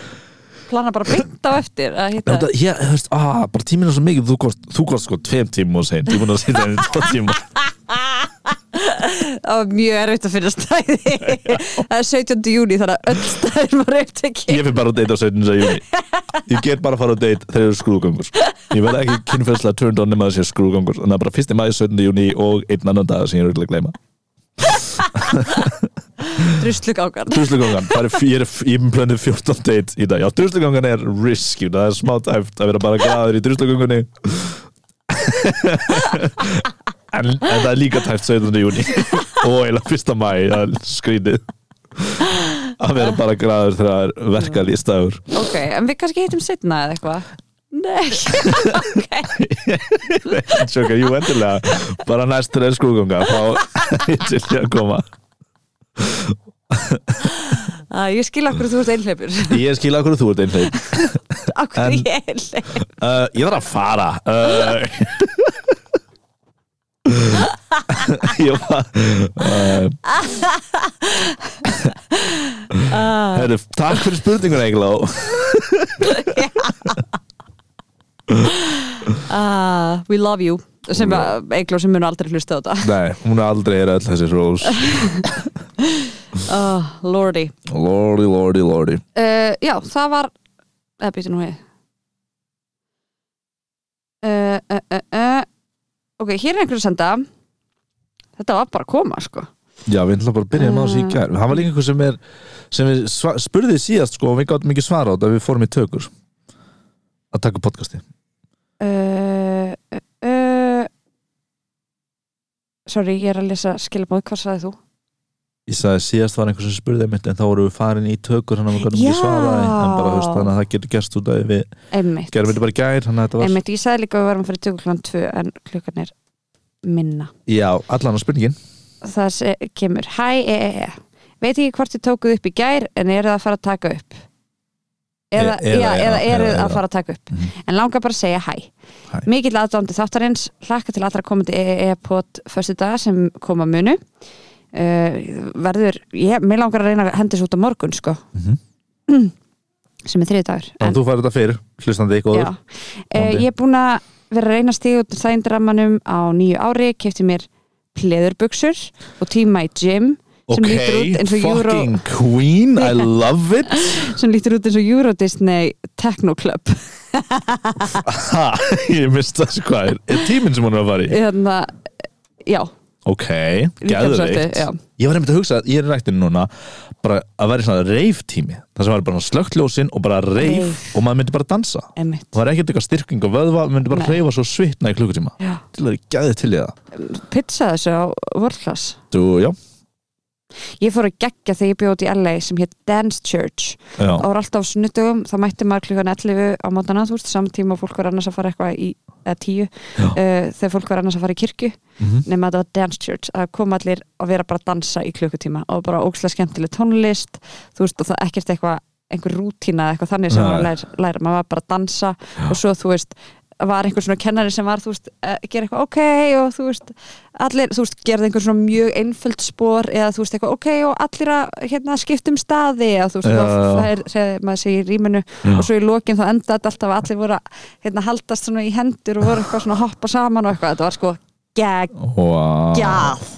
B: plana bara beint á eftir að
A: En
B: hitta
A: þetta, ég, þú veist, ah, bara tíminn er svo mikið þú komst, þú komst sko tveim tímum og seint ég búin að sitja henni tvo tíma
B: það var mjög erfitt að finna stæði
A: [LAUGHS]
B: það er 17. júni þannig að öll stæðin var upptekið
A: Ég fyrir bara á date á 17. júni Ég get bara að fara á date þegar það eru skrúðgangur Ég verð ekki kynfærslega turned on nema það sé skrúðgangur Þannig að bara 1. maður 17. júni og einn annan dag sem ég er auðvitað að gleyma
B: druslugákan
A: Druslugangan, það er, ég er ég er planið 14 date í dag Já, druslugangan er risk, you know, það er smá tæft að vera bara glæður í druslugangunni [LAUGHS] en, en það er líka tæft 17. júni [LAUGHS] og eða 1. mæ, það er skrítið að vera bara glæður þegar það er verkað í [LAUGHS] staður
B: ok, en við kannski hittum setna eða eitthvað nei, [LAUGHS] ok
A: Sjóka, jú, endilega bara næstur er skrúðganga þá [LAUGHS] er ég til ég að koma
B: Æ, Ah, ég skil akkur þú ert [LAUGHS] einhleipur
A: Ég skil að hverju þú ert einhvern
B: akkur
A: En-
B: ég er einhleipur
A: uh, Ég þarf að fara uh, [LAUGHS] Ég var uh, Herru, takk fyrir spurninguna Egil
B: uh, we love you sem eigló sem mun aldrei hlusta á þetta
A: Nei, hún er aldrei er öll þessi rós
B: uh, lordy
A: Lordy, lordy, lordy
B: uh, já, það var eða býtti nú heið uh, uh, uh, uh. ok, hér er einhver að senda þetta var bara að koma sko
A: Já, við ætlum bara að byrja með þessu í gær Það var líka einhver sem er sem við sva- spurði síðast sko og við gáttum ekki svara á þetta við fórum í tökur að taka upp podcasti
B: uh, uh, uh. sorry, ég er að lesa skilabóð, hvað sagði þú?
A: Ég sagði síðast var einhver sem spurði mitt en þá vorum við farin í tökur þannig að við gáttum
B: Já.
A: ekki svara því. en bara þú veist þannig að það getur gerst út að við
B: Einmitt,
A: gerum þetta bara í gær þannig að þetta var
B: Einmitt ég sagði líka að við varum fyrir tökur klukkan 2 en klukkan er minna
A: Já, allan á spurningin
B: það se- kemur hæ, e, e, e veit ekki hvort þið tókuð upp í gær en eru það að fara að taka upp eða,
A: E- eða,
B: já,
A: já,
B: eða eru
A: eða,
B: að
A: eða.
B: fara að taka upp en langar bara að segja hæ,
A: Hæ.
B: mikill aðdándi þáttarins hlakka til allra komandi E, EEE-pot fyrstu dag sem koma munu uh, verður, ég, mér langar að reyna að henda þessu út á morgun sko
A: Mhm.
B: sem er þriði dagur
A: Þannig að þú færði þetta fyrr, hlustandi ykkur
B: já, uh, ég er búin að vera að reyna að stíða út þægindramanum á nýju ári, kefti mér pleðurbuxur og tíma í gym sem lítur út eins og Euro
A: fucking queen,
B: [LAUGHS]
A: I love it
B: sem lítur út eins og Euro Disney Techno
A: [LAUGHS]
B: Club
A: ha, [LAUGHS] Ég mista þessu hvað er Er tíminn sem hún er að fara í?
B: hérna, já,
A: Ok,
B: líkamsræktin,
A: geðveikt
B: já.
A: Ég var einmitt að hugsa að ég er í ræktinu núna bara að vera í svona reif tími Það sem var bara slögt ljósin og bara reif
B: Reif.
A: og maður myndi bara dansa
B: emitt
A: Það var ekkert eitthvað styrking og vöðva maður myndi bara
B: Nei.
A: reyfa svo svitna í klukkutíma Til að geði til í það
B: pizza þessu á Vorklas
A: Þú, já,
B: ég fór að gegja þegar ég bjóði í LA sem hétt Dance Church
A: já
B: og var alltaf á sunnudugum, þá mætti maður klukkan 11 á mótana, þú veist, saman tíma og fólk var annars að fara eitthvað í, eða 10 uh, þegar fólk var annars að fara í kirkju
A: Mhm.
B: nema að þetta var Dance Church, að koma allir að vera bara að dansa í klukkutíma og bara ókslega skemmtileg tónlist, þú veist, og það ekkert eitthvað, einhver rútína eða eitthvað þannig sem
A: Nei.
B: maður læra, læra, maður var bara að dansa og svo, þú veist, var einhver svona kennari sem var, þú veist, eh, að gera eitthvað ok og þú veist, allir, þú veist, gerði einhver svona mjög einföld spor eða þú veist, eitthvað ok og allir að hérna, skiptum staði eða þú veist,
A: Já.
B: það, það er, segir, maður segir í rýminu og svo í lokin þá enda þetta alltaf að allir voru að hérna, haldast svona í hendur og voru eitthvað svona að hoppa saman og eitthvað, þetta var sko geggjað
A: Wow.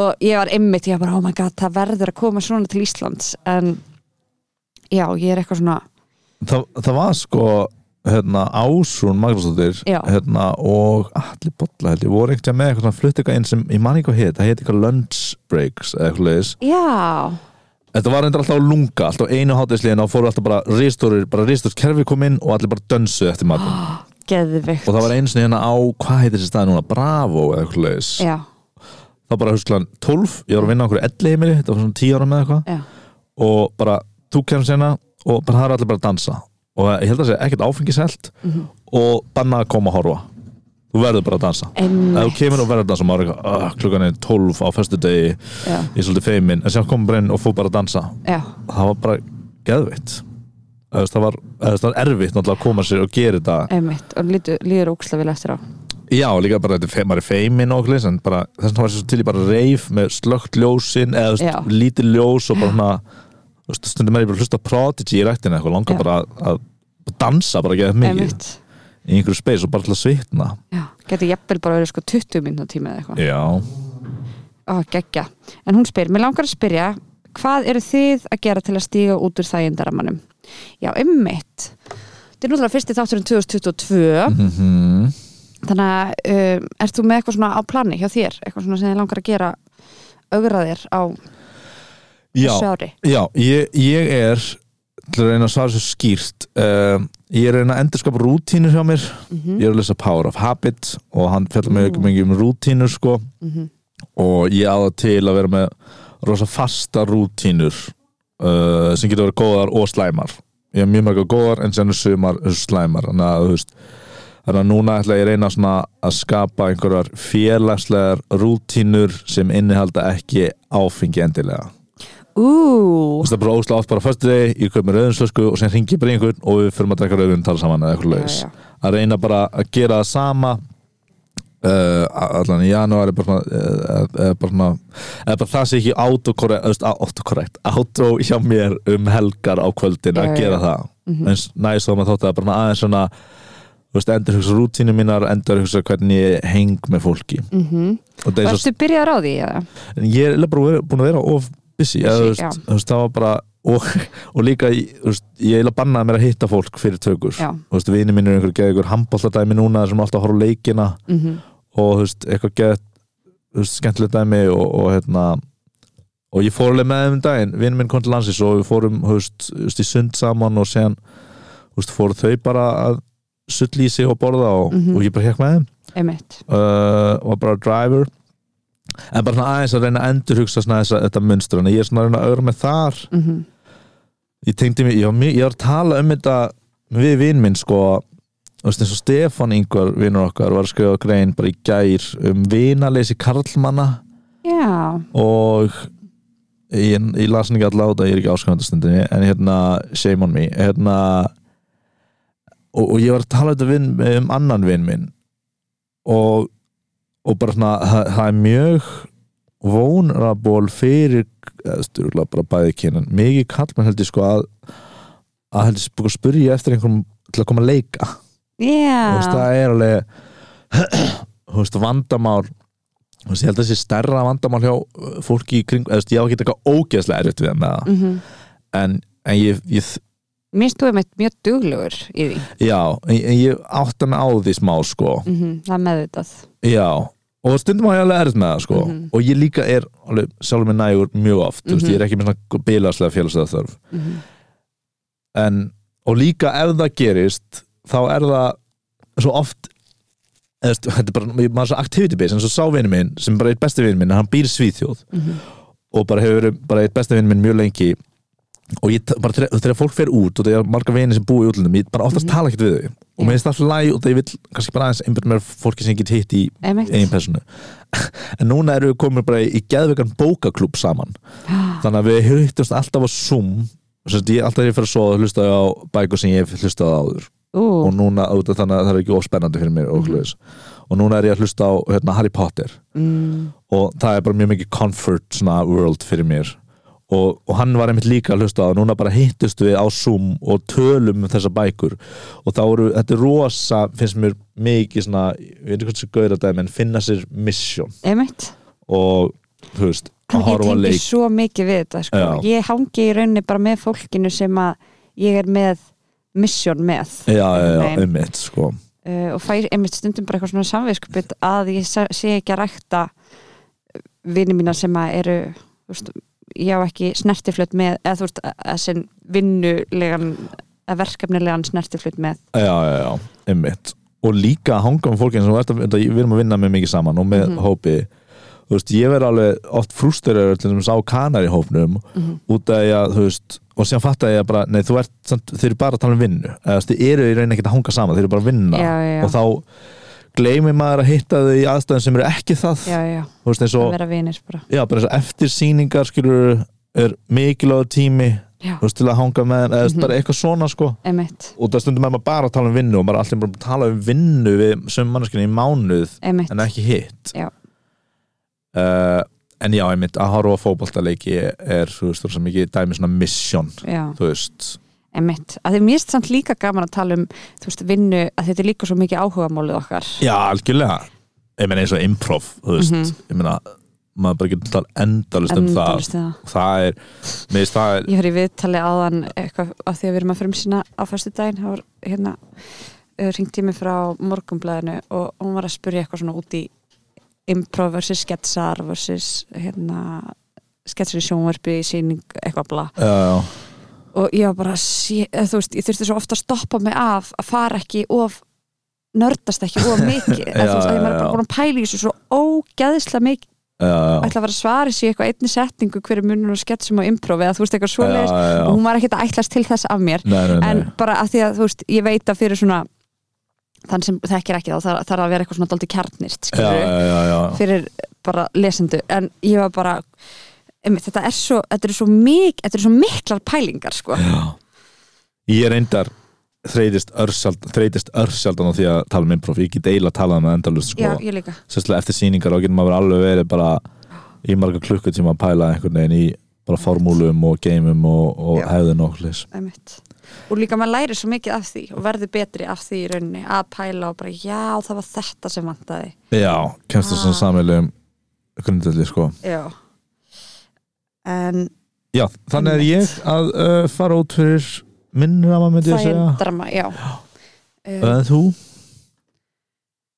B: og ég var ymmit, ég var bara, oh my god, það verður að koma svona til Íslands en já, ég er eitthvað svona
A: Þa, það var sko hérna, Ásrún Magnúsdóttir
B: Já.
A: hérna, og allir bolla held ég voru eitthvað með eitthvað svona flutt eitthvað inn sem ég man ekki hvað heit, það heit eitthvað lunch breaks eða eitthvað leiðis,
B: já,
A: þetta var reyndar alltaf á lunga alltaf á einu hátisliðin og fóru alltaf bara ríðstórir, bara ríðstórs kerfi kom inn og allir bara dönsuð eftir matum
B: [GASPS] geðvikt
A: og það var einu sinni hérna á, hvað heitir þessi staði núna Bravo eða eitthvað leiðis,
B: já,
A: það var bara husklaðan 12, ég var að vinna á einhverju 11 heimili, þetta var svona 10 ára með eitthvað
B: já,
A: og bara þú kemur sena og bara það er allir bara að dansa og ég held að það sé ekkert áfengiselt og banna að koma að horfa þú verður bara að dansa
B: Einmitt.
A: ef þú kemur og verður að dansa maður er eitthvað, "Ah, klukkan er 12 á föstu degi
B: já,
A: ég er svolítið feimin en sér kom bara inn og fór bara að dansa
B: já
A: það var bara geðvitt það var, eða, það var erfitt náttúrulega að koma sér og gera þetta
B: ymmit, og lítur, líður ókslega vel eftir á
A: já líka bara þetta er fe- maður er feimin og okkur en bara þess vegna var sér svo til í bara reif með slögt ljósin eða þú
B: Já.
A: veist, lítið ljós og bara hana stundum er ég bara að hlusta á Prodigy í rættina eitthvað langar
B: Já.
A: bara að, að dansa bara ekki eitthvað mikið
B: ymmit,
A: í einhverju space og bara til að svitna
B: já, geti jafnvel bara verið sko 20 mínútur tími eða eitthvað
A: já,
B: Ó, geggja. En hún spyr, mér langar að spyrja, hvað eru þið að gera til að stíga út úr þægindaramanum? Já, ummitt. Þetta er náttúrulega fyrsti þátturinn 2022,
A: Mhm.
B: þannig að um, ert þú með eitthvað svona á plani hjá þér? Eitthvað svona sem þið langar að gera augraðir á
A: já,
B: þessu ári?
A: já ég, ég er til að reyna að svara svo skýrt um, ég er að reyna að endurskapa rútínur hjá mér
B: Mhm.
A: ég er að lesa Power of Habit og hann fjallar mjög mikið um rútínur sko
B: Mhm.
A: og ég á það til að vera með rosa fasta rútínur uh, sem getur að vera góðar og slæmar ég hef mjög mörg góðar en sem er sumar eru slæmar þannig að, þú veist, þannig að núna ætla ég að reyna svona að skapa einhverjar félagslegar rútínur sem innihalda ekki áfengi endilega
B: Ú,
A: og það er bara óslega oft bara fyrstu deg, ég kaup mér rauðinslösku og sem ringi bara í einhvern og við fyrir að drekka rauðin tala saman eða eitthvað
B: Já,
A: leiðis
B: já.
A: að reyna bara að gera það sama uh, allan í janúar er bara, svona, eh, eh, eh, bara, svona, eða bara það sé ekki autokorrekt autokorrekt, auto hjá mér um helgar á kvöldin
B: Já,
A: að
B: já,
A: gera
B: já. Mhm.
A: það eins næst þá maður þótt að bara aðeins svona þú veist, endur hugsa rútínu mínar endur hugsa hvernig ég heng með fólki
B: mm -hmm.
A: og það er svo
B: varstu byrjaður á því? eða?
A: en ég er eiginlega bara verið- búin að vera of busy, eða, þú
B: Busy, já.
A: veist, þú veist, það var bara og, og líka, í- þú veist, ég eiginlega bannaði mér að hitta fólk fyrir tökur
B: Já.
A: þú veist, vini minn er einhver geða ykkur handbólladæmi núna sem er alltaf að horfa á leikina
B: Mm
A: og þú veist, eitthvað geða þú veist, skemmtilegt dæmi og, og hérna og ég fór alveg með þeim um daginn vini minn kom til landsins og við fórum þú veist, þú veist, í sund saman og séðan þú veist, fóru þau bara að sull í sig og borða og,
B: Mhm.
A: og ég bara hekk með þeim
B: Einmitt.
A: uh, var bara driver en bara svona aðeins að reyna að endur hugsa svona þess að þetta munstur en ég er svona að reyna að öðra með þar
B: Mm
A: ég tengdi mig, ég var, mjög- ég var að tala um þetta við vinn minn sko þú veist eins og Stefán Ingvar vinnur okkar var að skrifa grein bara í gær um vinaleysi karlmanna
B: Já,
A: og ég, ég las hann ekki alltaf á þetta, ég er ekki áskrifandastundinni en hérna, shame on me hérna, og, og ég var að tala þetta vin, um annan vin minn og, og bara svona, það, það er mjög vulnerable fyrir styrla bara bæði kynin mikið kall mann heldur sko að að heldur sko spurja eftir einhverjum til að koma að leika þú veist,
B: já,
A: það er alveg [CLEARS THROAT] þú veist, vandamál þú veist, ég held að þessi stærra vandamál hjá uh, fólki í kring, eða, þú veist, ég á ekki eitthvað ógeðslega erfitt við það með það,
B: mhm
A: en, en ég, ég
B: minnst þú einmitt mjög duglugur í því
A: já, en, en ég átta mig á því smá, sko
B: mm það er meðvitað
A: já, og stundum á ég alveg erfitt með það, sko
B: Mhm.
A: og ég líka er, alveg, sjálfur mig nægur mjög oft, þú veist,
B: Mhm.
A: ég er ekki með svona bilagslega félagslega þörf
B: mm -hmm.
A: en, og líka ef það gerist þá er það svo oft eða, stu- þetta er bara, ég- maður er svo activity based eins og sá vinur minn, sem bara er besti vinur minn hann býr í Svíþjóð
B: Mhm.
A: og bara hefur verið bara eitt besti vinur minn mjög lengi og ég ta- bara þegar- þegar fólk fer út og þegar marga vinir sem búi í útlundum, ég bara oftast
B: Mhm.
A: tala ekkert við þau og
B: Já.
A: mér finnst alltaf læg og það ég vil kannski bara aðeins einbjörn mér fólki sem ég get hitt í eigin
B: einmitt
A: personu en núna erum við komin bara í, í geðvegan bókaklúb saman þannig að við hittumst alltaf á Zoom Sest, ég, alltaf þegar ég fyrir að sofa hlusta ég á bækur sem ég hef hlustað á áður og
B: ú,
A: núna, auðvitað, þannig að það er ekki óspennandi fyrir mér og, mm. og núna er ég að hlusta á hérna, Harry Potter
B: mm,
A: og það er bara mjög mikið comfort svona, world fyrir mér og, og hann var einmitt líka að hlusta á og núna bara hittust við á Zoom og tölum um þessa bækur og þá eru, þetta er rosa finnst mér mikið svona, ég veit ekki hvað þessi gauður að dæmi en finna sér mission
B: einmitt
A: og, þú veist, að
B: ég
A: horfa á
B: tengi
A: leik
B: svo mikið við þetta sko.
A: Já.
B: ég hangi í rauninni bara með fólkinu sem að ég er með mission með
A: já, já, já,
B: Nei.
A: um mitt, sko
B: uh, og fær einmitt stundum bara eitthvað svona samviskupið að ég sa- sé ekki að rækta vini mína sem að eru þú veist, ég á ekki snertiflut með eða þú veist að, að sem vinnulegan að verkefnilegan snertiflut með
A: já, já, já, einmitt og líka að hanga með fólki eins og þú ert að- þetta- við erum að vinna með mikið saman og með
B: Mhm.
A: hópi þú veist, ég verð alveg oft frústurur til þess að sá kanar í hópnum
B: Mhm.
A: út af ég að, þú veist, og síðan fatta ég að bara, nei, þú ert, samt, þeir eru bara að tala um vinnu eða þú veist, þið eru í rauninni ekkert að hanga saman þeir eru bara að vinna
B: já, já, já,
A: og þá gleymir maður að hitta þau í aðstæðum sem eru ekki það
B: já, já,
A: þú veist, eins
B: að
A: og,
B: vera vinir bara
A: já, bara eins og eftir sýningar skilur er mikilvægur tími
B: já,
A: þú veist, til að hanga með þeim, eða þú veist,
B: Mhm.
A: bara eitthvað svona, sko
B: einmitt,
A: og það stundum er maður bara að tala um vinnu og maður er alltaf bara að tala um vinnu við sömu manneskinni í mánuð
B: einmitt
A: en ekki hitt
B: Já.
A: Eh, en já, einmitt að horfa á fótboltaleiki er, þú veist, þú mikið dæmi svona mission,
B: já,
A: þú veist
B: einmitt, að þið mérst samt líka gaman að tala um þú veist vinnu, að þetta er líka svo mikið áhugamálið okkar
A: já, algjörlega, ég meina eins og improv þú veist,
B: Mhm.
A: ég meina maður bara getur tala endalist um það
B: Endalaust um það.
A: það er, mér finnst það er
B: Ég fyrir viðtali áðan eitthvað af því að við erum að frumsýna á fyrstu daginn þá var hérna ringt ég mig frá morgumblæðinu og hún var að spyrja eitthvað svona út í improv versus sketsar versus hérna sketsar í sjónverfi, sýning, eitthvað bla
A: já,
B: og ég var bara, sé, eða, þú veist, ég þurfti svo ofta að stoppa mig af að fara ekki of nördast ekki of mikið eða, þú veist, að ég
A: Já,
B: var
A: já,
B: bara
A: já.
B: búin að pæla í þessu svo ógeðslega mikið
A: já, já,
B: ætla að vera að svara sig í eitthvað einni setningu hverju munur og sketsum og improv eða þú veist eitthvað
A: já,
B: svoleiðis
A: já, já.
B: og hún var ekkert að ætlast til þess af mér
A: Nei, nei, nei.
B: en bara að því að þú veist, ég veit að fyrir svona þann sem þekkir ekki þá þarf þarf að vera eitthvað svona daldi kjarnist
A: já,
B: skilurðu,
A: já, já, já.
B: fyrir bara lesendu en ég var bara einmitt, þetta er svo, þetta er svo, mik, þetta er svo miklar pælingar sko.
A: Ég reyndar þreytist örsjaldan, þreytist örsjaldan á því að tala um improv, ég get eiginlega talað um það endalust
B: já,
A: sko,
B: ég líka
A: sérstaklega eftir sýningar og getur maður alveg verið bara í marga klukkutíma að pæla einhvern veginn í bara formúlum og geimum og, og
B: Já.
A: hefðin og hlis
B: einmitt. og líka maður læri svo mikið af því og verður betri af því í rauninni að pæla og bara já, það var þetta sem vantaði
A: Já, kemst það svona
B: Ah.
A: samveilum grundvelli sko
B: já en
A: Já, þannig er ég
B: Einmitt.
A: að uh, fara út fyrir minn rama myndi ég
B: það er
A: segja
B: drama, já Um,
A: En þú?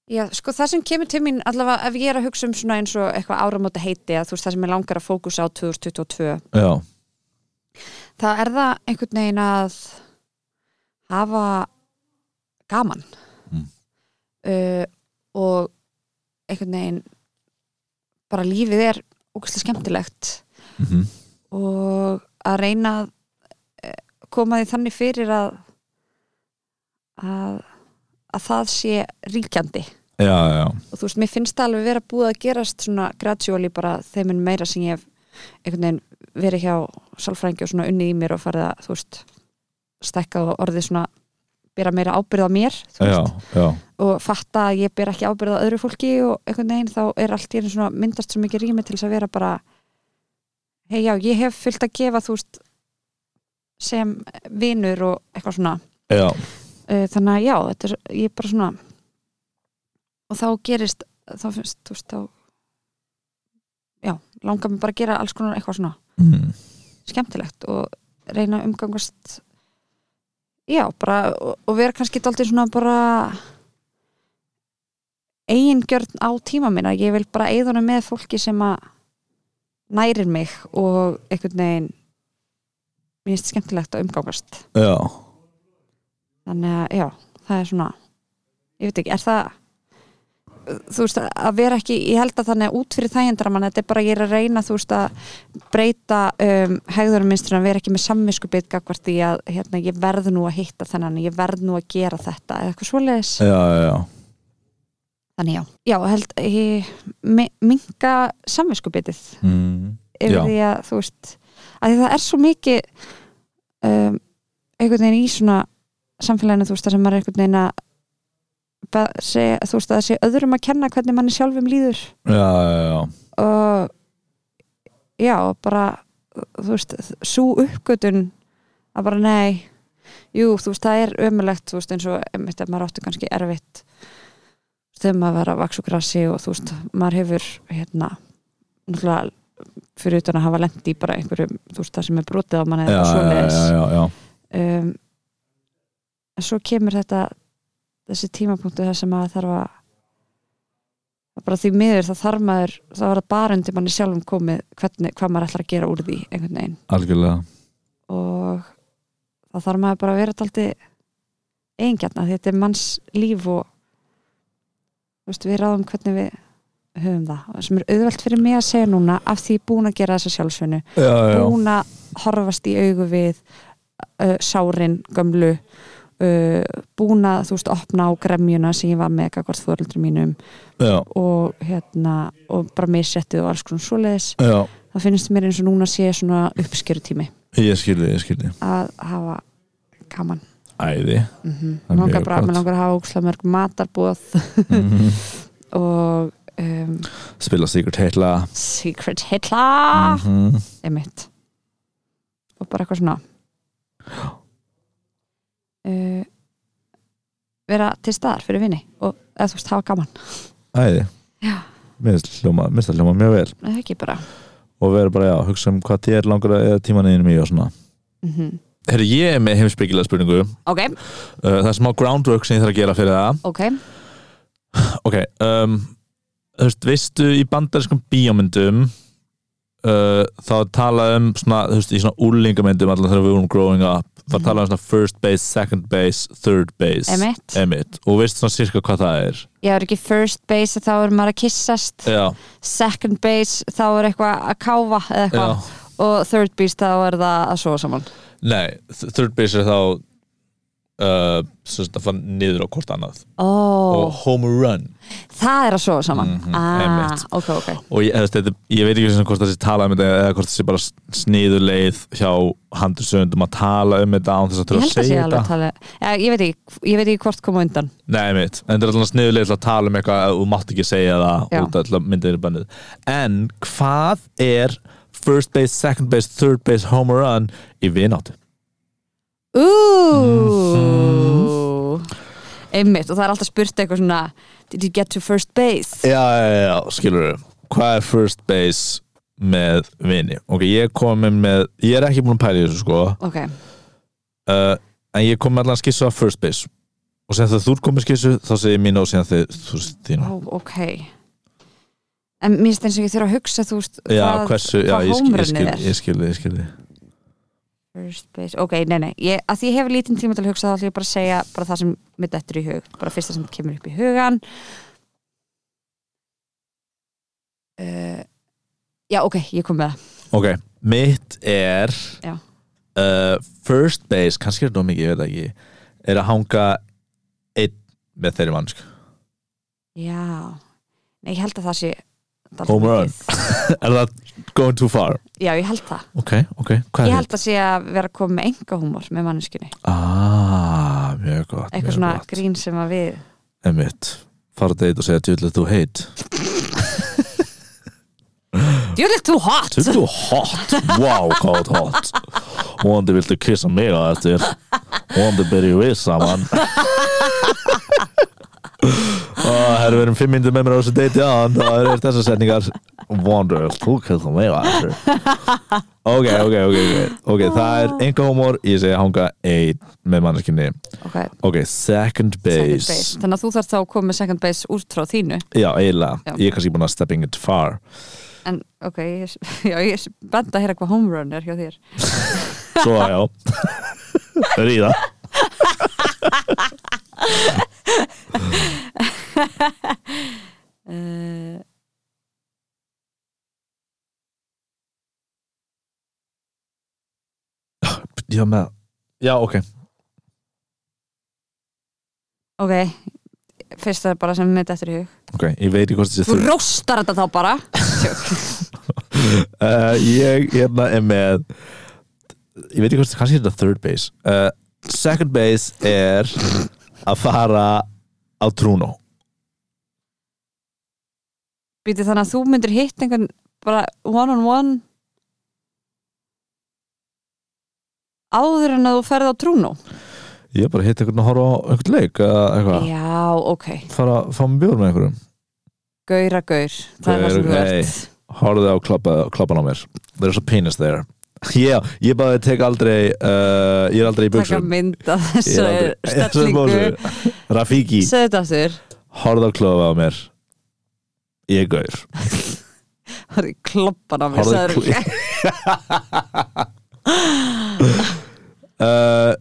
B: Já, sko það sem kemur til mín allavega ef ég er að hugsa um svona eins og eitthvað áramóta heiti að þú veist það sem ég langar að fókusa á 2022
A: Já,
B: það er það einhvern veginn að hafa gaman
A: Mm.
B: uh, og einhvern veginn bara lífið er ógæslega skemmtilegt
A: mm
B: Mhm. og að reyna að eh, koma því þannig fyrir að að, að það sé ríkjandi
A: já, já,
B: og þú veist, mér finnst það alveg vera búið að gerast svona gradually bara þeim en meira sem ég hef einhvern veginn verið hjá sálfrængi og svona unnið í mér og farið að, þú veist, stækka og orðið svona bera meira ábyrð á mér, þú
A: já,
B: veist,
A: já,
B: og fatta að ég ber ekki ábyrð á öðru fólki og einhvern veginn þá er allt í einu svona myndast svo mikið rými til þess að vera bara hei já, ég hef fullt að gefa, þú veist, sem vinur og eitthvað svona
A: já,
B: Eh, þannig að já, þetta er, ég er bara svona og þá gerist þá finnst, þú veist, þá já, langar mér bara að gera alls konar eitthvað svona
A: mm,
B: skemmtilegt og reyna að umgangast já, bara og, og vera kannski daldið svona bara eigingjörn á tíma minna, ég vil bara eigðuna með fólki sem að nærir mig og einhvern veginn mér finnst skemmtilegt að umgangast
A: já
B: þannig að já, það er svona ég veit ekki, er það þú veist, að vera ekki ég held að þannig að út fyrir þægindar mann þetta er bara ég er að reyna, þú veist, að breyta um, hegðuruminsturinn að vera ekki með samvinskupið gagvart því að hérna, ég verð nú að hitta þennan, ég verð nú að gera þetta eða eitthvað svoleiðis
A: já, já, já,
B: þannig já, já, held ég, mi- minka samvinskupitið
A: mm,
B: yfir
A: Já.
B: því að þú veist að því það er svo mikið um, einhvern veginn í svona samfélaginu þú veist það sem maður er einhvern veginn að be- segja, þú veist að það sé öðrum að kenna hvernig manni sjálfum líður
A: já, já, já
B: og já, og bara þú veist, svo uppgötun að bara nei jú, þú veist, það er ömulegt þú veist, eins og einmitt að maður átti kannski erfitt þegar maður var að vaks og grassi og þú veist, maður hefur hérna, náttúrulega fyrir utan að hafa lendi í bara einhverjum þú veist, það sem er brotið á manni
A: já, já,
B: eða
A: já,
B: svoleiðis
A: já, já.
B: um, en svo kemur þetta þessi tímapunktu þar sem maður þarf að að bara því miður það þarf maður þá er það bara undir manni sjálfum komið hvernig, hvað maður ætlar að gera úr því einhvern veginn
A: algjörlega
B: og þá þarf maður bara að vera daldi eigingjarna því þetta er manns líf og þú veist, við ráðum hvernig við höfum það og sem er auðvelt fyrir mig að segja núna af því ég er búin að gera þessa sjálfsvinnu
A: já, já, já,
B: búin að horfast í augu við uh, sárin gömlu uh, búin að þú veist opna á gremjuna sem ég var með eitthvað fóröldri mínum
A: já,
B: og hérna og bara missettið og alls konar svoleiðis
A: já
B: það finnst mér eins og núna sé svona uppskjörutími
A: ég skildi, ég skildi
B: að hafa gaman [LAUGHS]
A: æði
B: mm
A: Það er
B: -hmm. langar
A: mjög
B: bara,
A: gott.
B: mér langar að hafa ókslega mörg matarbúð
A: Mhm.
B: og um,
A: spila Secret Hitler
B: secret hitla
A: Mhm.
B: einmitt og bara eitthvað
A: [GASPS]
B: svona uh, vera til staðar fyrir vini og eða þú veist hafa gaman
A: æði
B: já,
A: Mér finnst hljóma- mér finnst það hljóma mjög vel
B: eða ekki bara
A: og vera bara, já, hugsa um hvað þér langar að eða tíman einum í og svona
B: mm
A: Mhm. Herri, ég er með heimsbyggilega spurningu uh,
B: ok,
A: það er smá groundwork sem ég þarf að gera fyrir það
B: ok
A: ok, um, þú veist, veistu í bandariskum bíómyndum uh, þá er talað um svona, þú veist, í svona úlingamyndum allan þegar við vorum growing up, þá
B: Mhm.
A: talað um svona first base, second base, third base
B: Emmett,
A: Emmett, og veistu svona cirka hvað það er
B: ég er ekki first base þá er maður að kyssast
A: já,
B: second base þá er eitthvað að káfa
A: já,
B: eða eitthvað og third base þá er það að sofa saman
A: nei th- third base er þá uh, sem sagt að fara niður á hvort annað
B: ó,
A: og home run
B: það er að sofa saman
A: Mhm,
B: ah,
A: einmitt.
B: ok, ok
A: og ég, eða, þetta, ég veit ekki svona hvort það sé talað um þetta eða hvort það sé bara sniðuleið hjá handursöndum að tala um þetta án þess að
B: ég
A: þurfa
B: held
A: að
B: að sé
A: segja
B: alveg
A: þetta
B: talið ja, ég, veit ekki, ég veit ekki hvort koma undan
A: Nei, mitt, en það er alltaf sniðuleið til að tala um eitthvað að þú mátt ekki segja það
B: Já.
A: út af alltaf myndinir bannið En hvað er first base, second base, third base, home run í vináttu?
B: Úúúú Einmitt og það er alltaf spurt eitthvað svona Did you get to first base?
A: Já, já, já, já, skilur við Hvað er first base með vini? Ok, ég er komin með, ég er ekki búin að pæla í þessu sko
B: Ok,
A: uh, en ég kom með allan skissu af first base og sem það þú komið skissu þá segir ég mín og síðan þið, þú veist þín
B: ó, ok En mér finnst eins og ég þurfa að hugsa þú veist
A: já,
B: hvað-
A: hversu, já, ég skil,
B: hvað
A: ég skil,
B: hómrunnið er.
A: ég skil, ég skil, ég
B: First base, ok, nei, nei ég, að Því ég hef lítinn tíma til að hugsa þá ætlum ég bara að segja bara það sem mitt eftir í hug bara fyrsta sem kemur upp í hugan uh, Já, ok, ég kom með það
A: skil ok, mitt er
B: Já.
A: uh, first base kannski er þetta of mikið, ég veit það ekki er að hanga einn með þeirri mannsk
B: Já, nei, ég held að það sé dálítið
A: Home run.
B: mikið.
A: Er það going too far?
B: Já, ég held það
A: Ok, ok, hvað
B: Ég
A: er þetta?
B: held að sé að vera að koma með enga húmor með manneskunni
A: Ah, mjög gott mjög
B: Eitthvað svona
A: gott.
B: grín sem að við
A: Einmitt, fara að deyta og segja djúðlega þú heit
B: You're too hot
A: Djúðlega þú hot, wow, hvað þú ert hot Vonandi viltu kissa mig á eftir Vonandi byrju við saman Það er verið um fimm myndir með mér á þessu deyti án Það eru þessar setningar Vonandi vil þú kissa mig á eftir Ok, ok, ok Ok, okay það er einhver humor Ég segi hanga einn með manneskinni
B: okay.
A: Ok, second
B: second
A: base,
B: base. Þannig að þú þarf þá að koma með second base út frá þínu
A: Já, eiginlega,
B: Já.
A: ég er kannski búin að stepping it far
B: En ok, ég er, [LAUGHS] já, ég er spennt að heyra hvað home run er hjá þér [LAUGHS]
A: Svo já Ríða
B: uh,
A: Já, með Já, ok
B: Ok, fyrst það er bara sem mitt eftir í hug
A: Ok, ég veit ekki hvort þessi
B: Þú
A: þurr
B: róstar þetta þá bara
A: uh, Ég hérna er með Ég veit ekki hvort kannski er þetta third base uh, Second base er að fara á trúnó
B: Býti þannig að þú myndir hitt einhvern bara one on one áður en að þú ferð á trúnó
A: Ég bara hitt einhvern að horfa á einhvern leik eða eitthvað,
B: Já, ok,
A: fara að fá mig bjóður með einhverjum
B: gauðra gaur það er það sem þú
A: Gaur, nei.
B: ert
A: Horfðu á klappa- klappan á mér There's a penis there [LAUGHS] Já, ég bara tek aldrei uh, Ég er aldrei í
B: taka
A: buksum
B: mynd af þessu [LAUGHS]
A: [LAUGHS]
B: stellingu segðu
A: stellingu Rafiki,
B: þetta aftur
A: horfðu á klappa á mér Ég er gaur
B: horfðu í kloppan á mér
A: Horfðu í
B: segðu-
A: [LAUGHS] uh,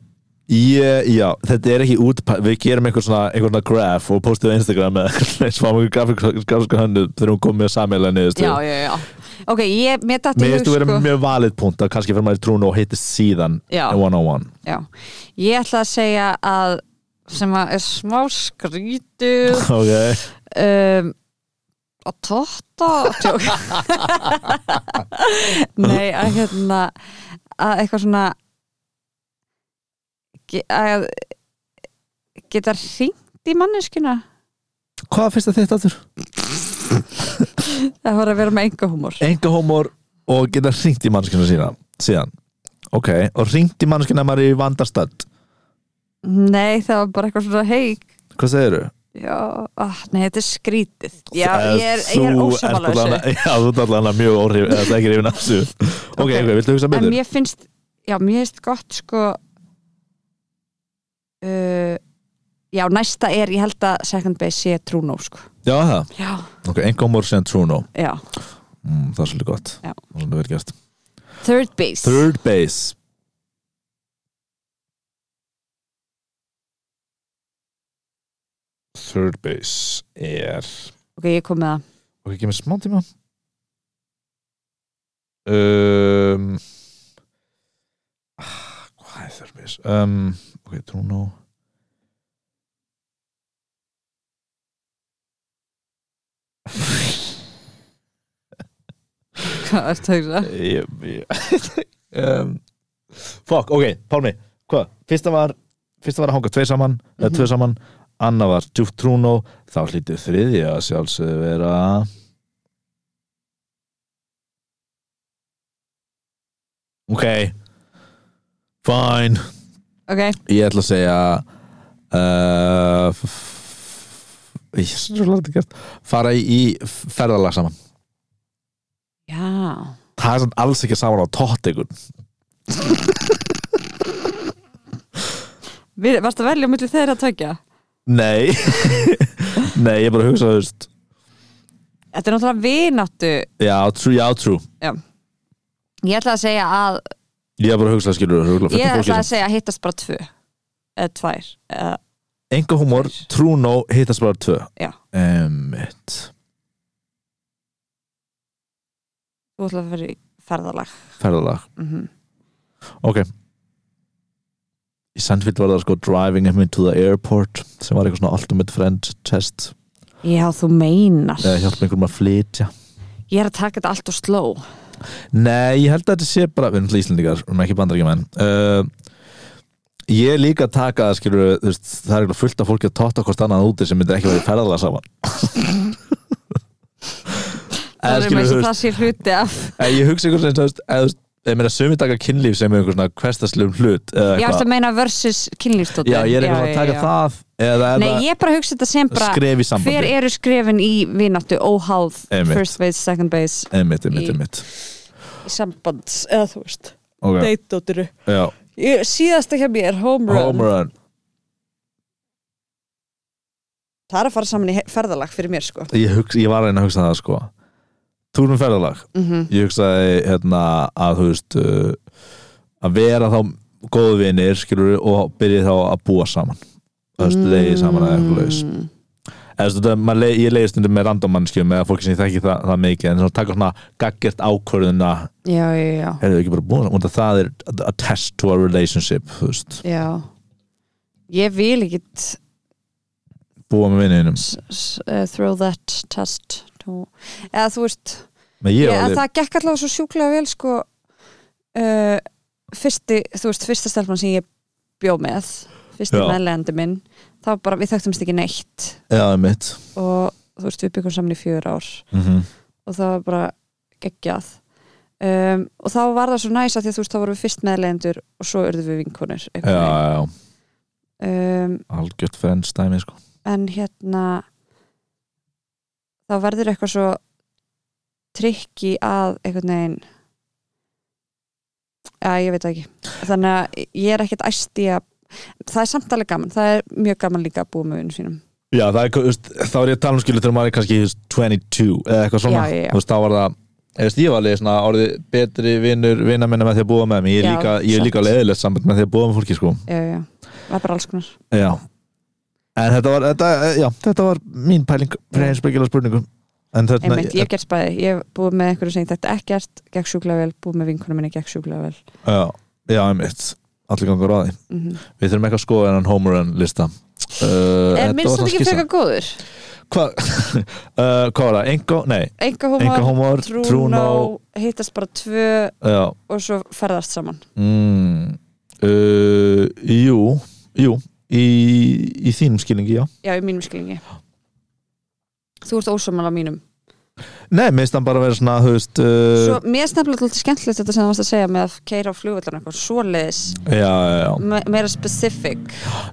A: ég, Já, þetta er ekki út Við gerum einhver svona, einhver svona graf og postum á Instagram með sváum einhver grafík- grafíska hönnu þegar hún kom með sammelega niðurstöð
B: Já, já, já Ok, ég mér datt í
A: Mér finnst
B: hug
A: þú verið
B: sko
A: mjög valið punkt að kannski fyrir maður í trúnu og hitti síðan
B: Já.
A: one on
B: [LAUGHS]
A: one
B: já. Ég ætla að segja að sem að er smá skrítið
A: okay.
B: um, að totta tjók [LAUGHS] nei að hérna að eitthvað svona ge- að geta hringt í manneskuna
A: Hvað finnst það þitt aftur?
B: það var að vera með enga húmor
A: Enga hómor og geta hringt í mannskina sína síðan Ok, og hringt í mannskina að maður er í vandastöld
B: nei það var bara eitthvað svona heik
A: Hvað segirðu?
B: já, ah, nei þetta er skrítið já, ég er, ég er
A: Þú ert
B: ósamála
A: allan-
B: þessu
A: [LAUGHS] Já, þú ert allan að mjög óhrif eða það ekki rifin af
B: [LAUGHS]
A: þessu Ok,
B: Ok.
A: ok, viltu hugsa
B: en
A: betur?
B: mér finnst já, mér finnst gott sko uh, já, næsta er ég held að second base sé trúnó sko
A: Já, það
B: já,
A: Ok, enga hómor sem trúnu
B: já
A: mm, Það er svolítið gott Það
B: Já.
A: er svolítið vel gert
B: Third base
A: Third base Third base er
B: Ok, ég kom með það
A: Ok, ekki með smá tíma um, ah, Hvað er þurr mis um, Ok, [LAUGHS] Trúnó
B: [LAUGHS] Hvað er það það?
A: Ég- ég- [LAUGHS] um, Fuck, ok, Pálmi Hvað, fyrsta var Fyrsta var að hanga tvei saman, eða
B: Mhm.
A: tvö saman Anna var djúft Trúnó Þá hlítið þriði að sjálfsögðu vera Ok Fine
B: Ok,
A: Ég ætla að segja uh, f- f- Ég er svo langt að gert Fara í, í ferðalag saman
B: já
A: Það er samt alls ekki saman á tótt einhvern
B: Við, Varst að velja mjög þeirra að tökja? [LAUGHS]
A: Nei Nei, ég bara hugsa þú veist
B: Þetta er náttúrulega vináttu
A: Já, true, já, true
B: Ég ætla að segja að
A: Ég bara hugsa skilur
B: Ég ætla að segja að hittast bara tvö Eða tvær Eða,
A: Enga humor, true no, hittast bara tvö
B: Já.
A: Emmitt
B: Þú ætla að vera í ferðalag
A: Ferðalag
B: mm
A: Ok Í Sandfield var það sko driving him into the airport sem var eitthvað svona ultimate friend test
B: Já, þú meinar
A: eða hjálpa einhverjum að flytja
B: ég er að taka þetta allt og sló
A: Nei, ég held að þetta sé bara, við erum til Íslandingar, við erum ekki bandaríkjumenn uh, Ég er líka að taka það skilur, þú veist, það er eitthvað fullt af fólki að totta hvort annað úti sem myndir ekki verið ferðalega
B: [LAUGHS]
A: saman Eða
B: það er
A: skilur, þú
B: með þess að
A: veist,
B: það sé hluti af
A: en ég hugsa einhvern veginn, þú veist, eða þú veist, ég meina sumi taka kynlíf sem einhver svona hverstaslegum hlut eða
B: ég ætti
A: eitthvað
B: að meina versus kynlífstóttir
A: Já, ég er eitthvað að taka það eða er
B: Nei,
A: það
B: ég er bara að hugsa þetta sem bara
A: skref í sambandi
B: hver eru skrefin í vináttu óháð
A: Einmitt.
B: first base, second base
A: Einmitt, einmitt,
B: í-
A: einmitt
B: í sambands eða þú veist,
A: okay.
B: date-dóttiru
A: Já,
B: síðasta hjá mér, home run,
A: home run
B: það er að fara saman í he- ferðalag fyrir mér sko
A: ég, hugsa, ég var að reyna að hugsa það sko túrum ferðalag
B: mm -hmm.
A: ég hugsaði hérna að þú veist uh, að vera þá góðu vinir skilur og byrja þá að búa saman þú
B: Mm.
A: veist, leiði saman eða eitthvað laus eða þú veist, þetta- maður leið- ég leiði stundum með randomannskjum eða fólki sem ég þekki það, það mikið en svona taka svona gaggert ákvörðuna
B: já, já, já,
A: er þau ekki bara búin saman og það er a test to a relationship þú veist,
B: já ég vil ekki t-
A: búa með vininum
B: s- s- eh, throw that test to... eða þú veist
A: menn ég
B: Já, en
A: var
B: það gekk allavega svo sjúklega vel sko uh, fyrsti, þú veist, fyrsta stelpan sem ég bjó með, fyrsti
A: Já.
B: meðlegandi minn þá bara, við þekktumst ekki neitt
A: eða mitt
B: og þú veist, við byggum saman í fjör ár
A: mm
B: og það var bara geggjað um, og þá var það svo næs að því að þú veist, þá vorum við fyrst meðlegendur og svo urðum við vinkonur
A: já, já, já,
B: um,
A: algjört frendstæmi sko
B: en hérna þá verður eitthvað svo trikki að einhvern veginn já, ég veit það ekki þannig að ég er ekkert æst í að það er samt alveg gaman, það er mjög gaman líka að búa með vinnum sínum
A: Já, það er, þú veist, þá er ég að tala um skilu þegar maður er kannski þú veist, 22 eða eitthvað svona,
B: Já, já, já.
A: þú veist, þá var það eða veist, ég var alveg svona orðið betri vinnur vinna minna með því að búa með mér, ég er
B: Já,
A: líka, ég er
B: samt.
A: líka leðilegt samband með því að búa með fólki, sko
B: já, já, já, það er bara alls konar
A: Já, en þetta var, þetta, eh, já, þetta var mín pæling fyrir eins spekjulega spurningum en þetta,
B: Mm. einmitt, ég hef gert spæði, ég hef búið með einhverju sem ég þetta ekkert, gekk sjúklega vel, búið með vinkunum minni gekk sjúklega vel
A: já, já, einmitt allir gangur á því,
B: mm
A: við þurfum ekki að skoða þennan home run lista Uh,
B: er
A: þetta var
B: Eh, minnst þetta
A: svona
B: ekki
A: skissa
B: frekar góður?
A: Hva- [LAUGHS] uh, Hvað var það? Engo? Nei,
B: enga
A: enga
B: hóma,
A: homor, trúnó
B: trúnó hittast bara tvö
A: Já,
B: og svo ferðast saman
A: Mm, uh, jú, jú í, í þínum skilningi, já
B: Já, í mínum skilningi Þú ert ósámála mínum
A: Nei, minnst hann bara vera svona, þú veist uh,
B: Svo, Mér er snabla alltaf skemmtilegt þetta sem það varst að segja með að keira á flugvöldan eitthvað svoleiðis
A: já, já, já,
B: me- meira specific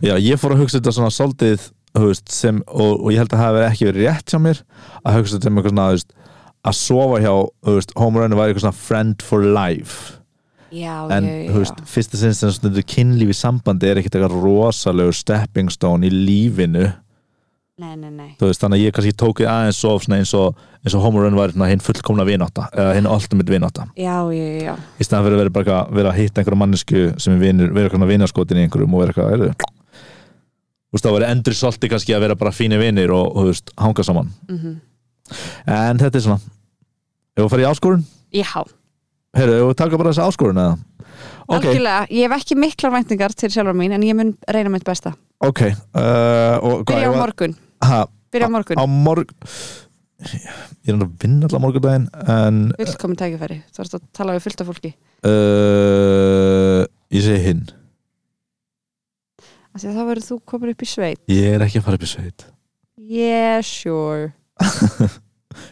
A: já, ég fór að hugsa þetta svona svolítið, þú veist, sem og, og ég held að það hafi ekki verið rétt hjá mér að hugsa þetta með eitthvað svona, þú veist að sofa hjá, þú veist, homerunni var eitthvað svona friend for life
B: Já,
A: en,
B: já, já
A: þú veist, fyrsta sinni sem stundur kynlífi sambandi er ekkert eitthvað rosalegu stepping stone í lífinu
B: Nei, nei, nei
A: þú veist, þannig að ég kannski tók ég aðeins of svona eins og, eins og Homer Run var svona hinn fullkomna vinátta, eða hinn ultimate vinátta
B: Já, já, já, já
A: í staðan fyrir að vera bara eitthvað- vera að hitta einhverja mannesku sem er vinur, vera eitthvað vinarskotin í einhverjum og vera eitthvað, er þau þú veist, þá verið endur solti kannski að vera bara fínir vinir og, og þú veist, hanga saman
B: mm
A: en þetta er svona, ef við farið í áskorun
B: Já,
A: heyrðu, ef við taka bara þessa áskorun eða ok,
B: algjörlega, ég hef ekki miklar væntingar til sjálfur mín en ég mun reyna mitt besta
A: ok uh, og,
B: Byrja á
A: ég var-
B: morgun,
A: ha,
B: byrja á morgun
A: á morg ég er hann að vinna allan morgundaginn en
B: Vilkomin tækifæri, þú ert að tala við fullt af fólki
A: uh, ég segi hinn
B: Af því að þá verður þú komin upp í sveit
A: Ég er ekki að fara upp í sveit
B: Yeah, sure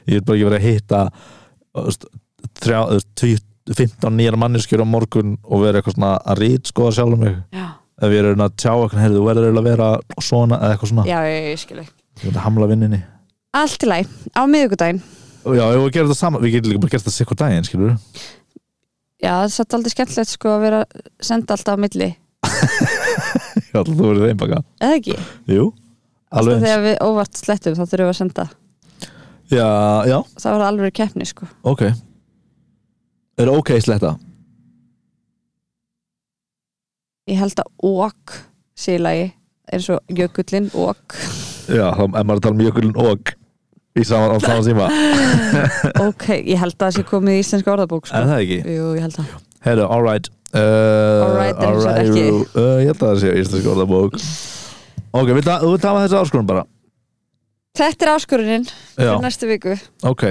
A: Ég er bara ekki verið að hitta þú veist, þrjá, þú veist, 20 15 nýjar manneskjur á morgun og vera eitthvað svona að rít skoða sjálf mig
B: Já,
A: ef ég er að tjá eitthvað, heyrðu, þú verður eiginlega að vera svona eða eitthvað svona,
B: já, já, já, ég skil ekki
A: ég verður að hamla vinninni
B: Allt í læg, á miðvikudaginn
A: og já, ef við gerum þetta saman, við getum líka bara gert þetta sikkur daginn, skilur við
B: Já, það er satt aldrei skemmtilegt sko að vera að senda alltaf á milli,
A: [LAUGHS] ég ætla að þú verður þeim baka
B: eða ekki?
A: Jú,
B: Alltaf
A: alveg eins
B: þegar við óvart slettum þá þurfum við að senda
A: Já, já,
B: Það var alveg keppni sko
A: ok Er ok sletta?
B: Ég held að ók sé í lagi eins og jökullin
A: [LAUGHS]
B: ók
A: Já, þá er maður að tala um jökulinn og í saman, á saman síma
B: Ok, ég held að það sé komið í íslenska orðabók
A: [LAUGHS]
B: sko
A: Er það ekki?
B: Jú, ég held að
A: Herru, alright uh,
B: Alright, er eins og ekki.
A: uh, Ég held að það sé íslensk orðabók Ok, við ta- þú tafa þessi áskorun bara
B: Þetta er áskorunin fyrir
A: Já,
B: næstu viku
A: ok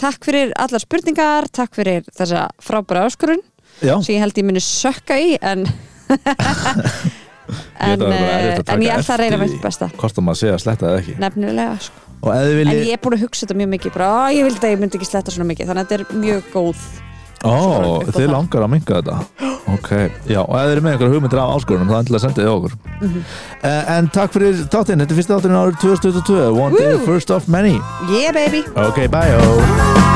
B: Takk fyrir allar spurningar, takk fyrir þessa frábæra áskorun
A: Já,
B: sem ég held ég muni sökka í en
A: [LAUGHS]
B: en,
A: það var bara
B: eh,
A: erfitt að
B: [LAUGHS] en ég
A: taka
B: ætla að reyna
A: eftir
B: mitt
A: því.
B: besta
A: hvort að maður sé að sletta eða ekki
B: nefnilega sko.
A: Og ef þið
B: en
A: viljið
B: ég er búin að hugsa þetta mjög mikið bara, "Á, ég vildi að ég myndi ekki sletta svona mikið þannig að þetta er mjög góð
A: Ó,
B: upp á
A: þið
B: það.
A: langar að minga
B: [GASPS]
A: þetta Ok, já, og ef þið eru með einhverja hugmyndir af áskorunum þá endilega sendið þið okkur
B: Mhm.
A: Eh, En takk fyrir þáttinn, þetta er fyrsta þátturinn árið 2022 One day,
B: Woo!
A: first of many
B: yeah baby
A: Ok, bye, oh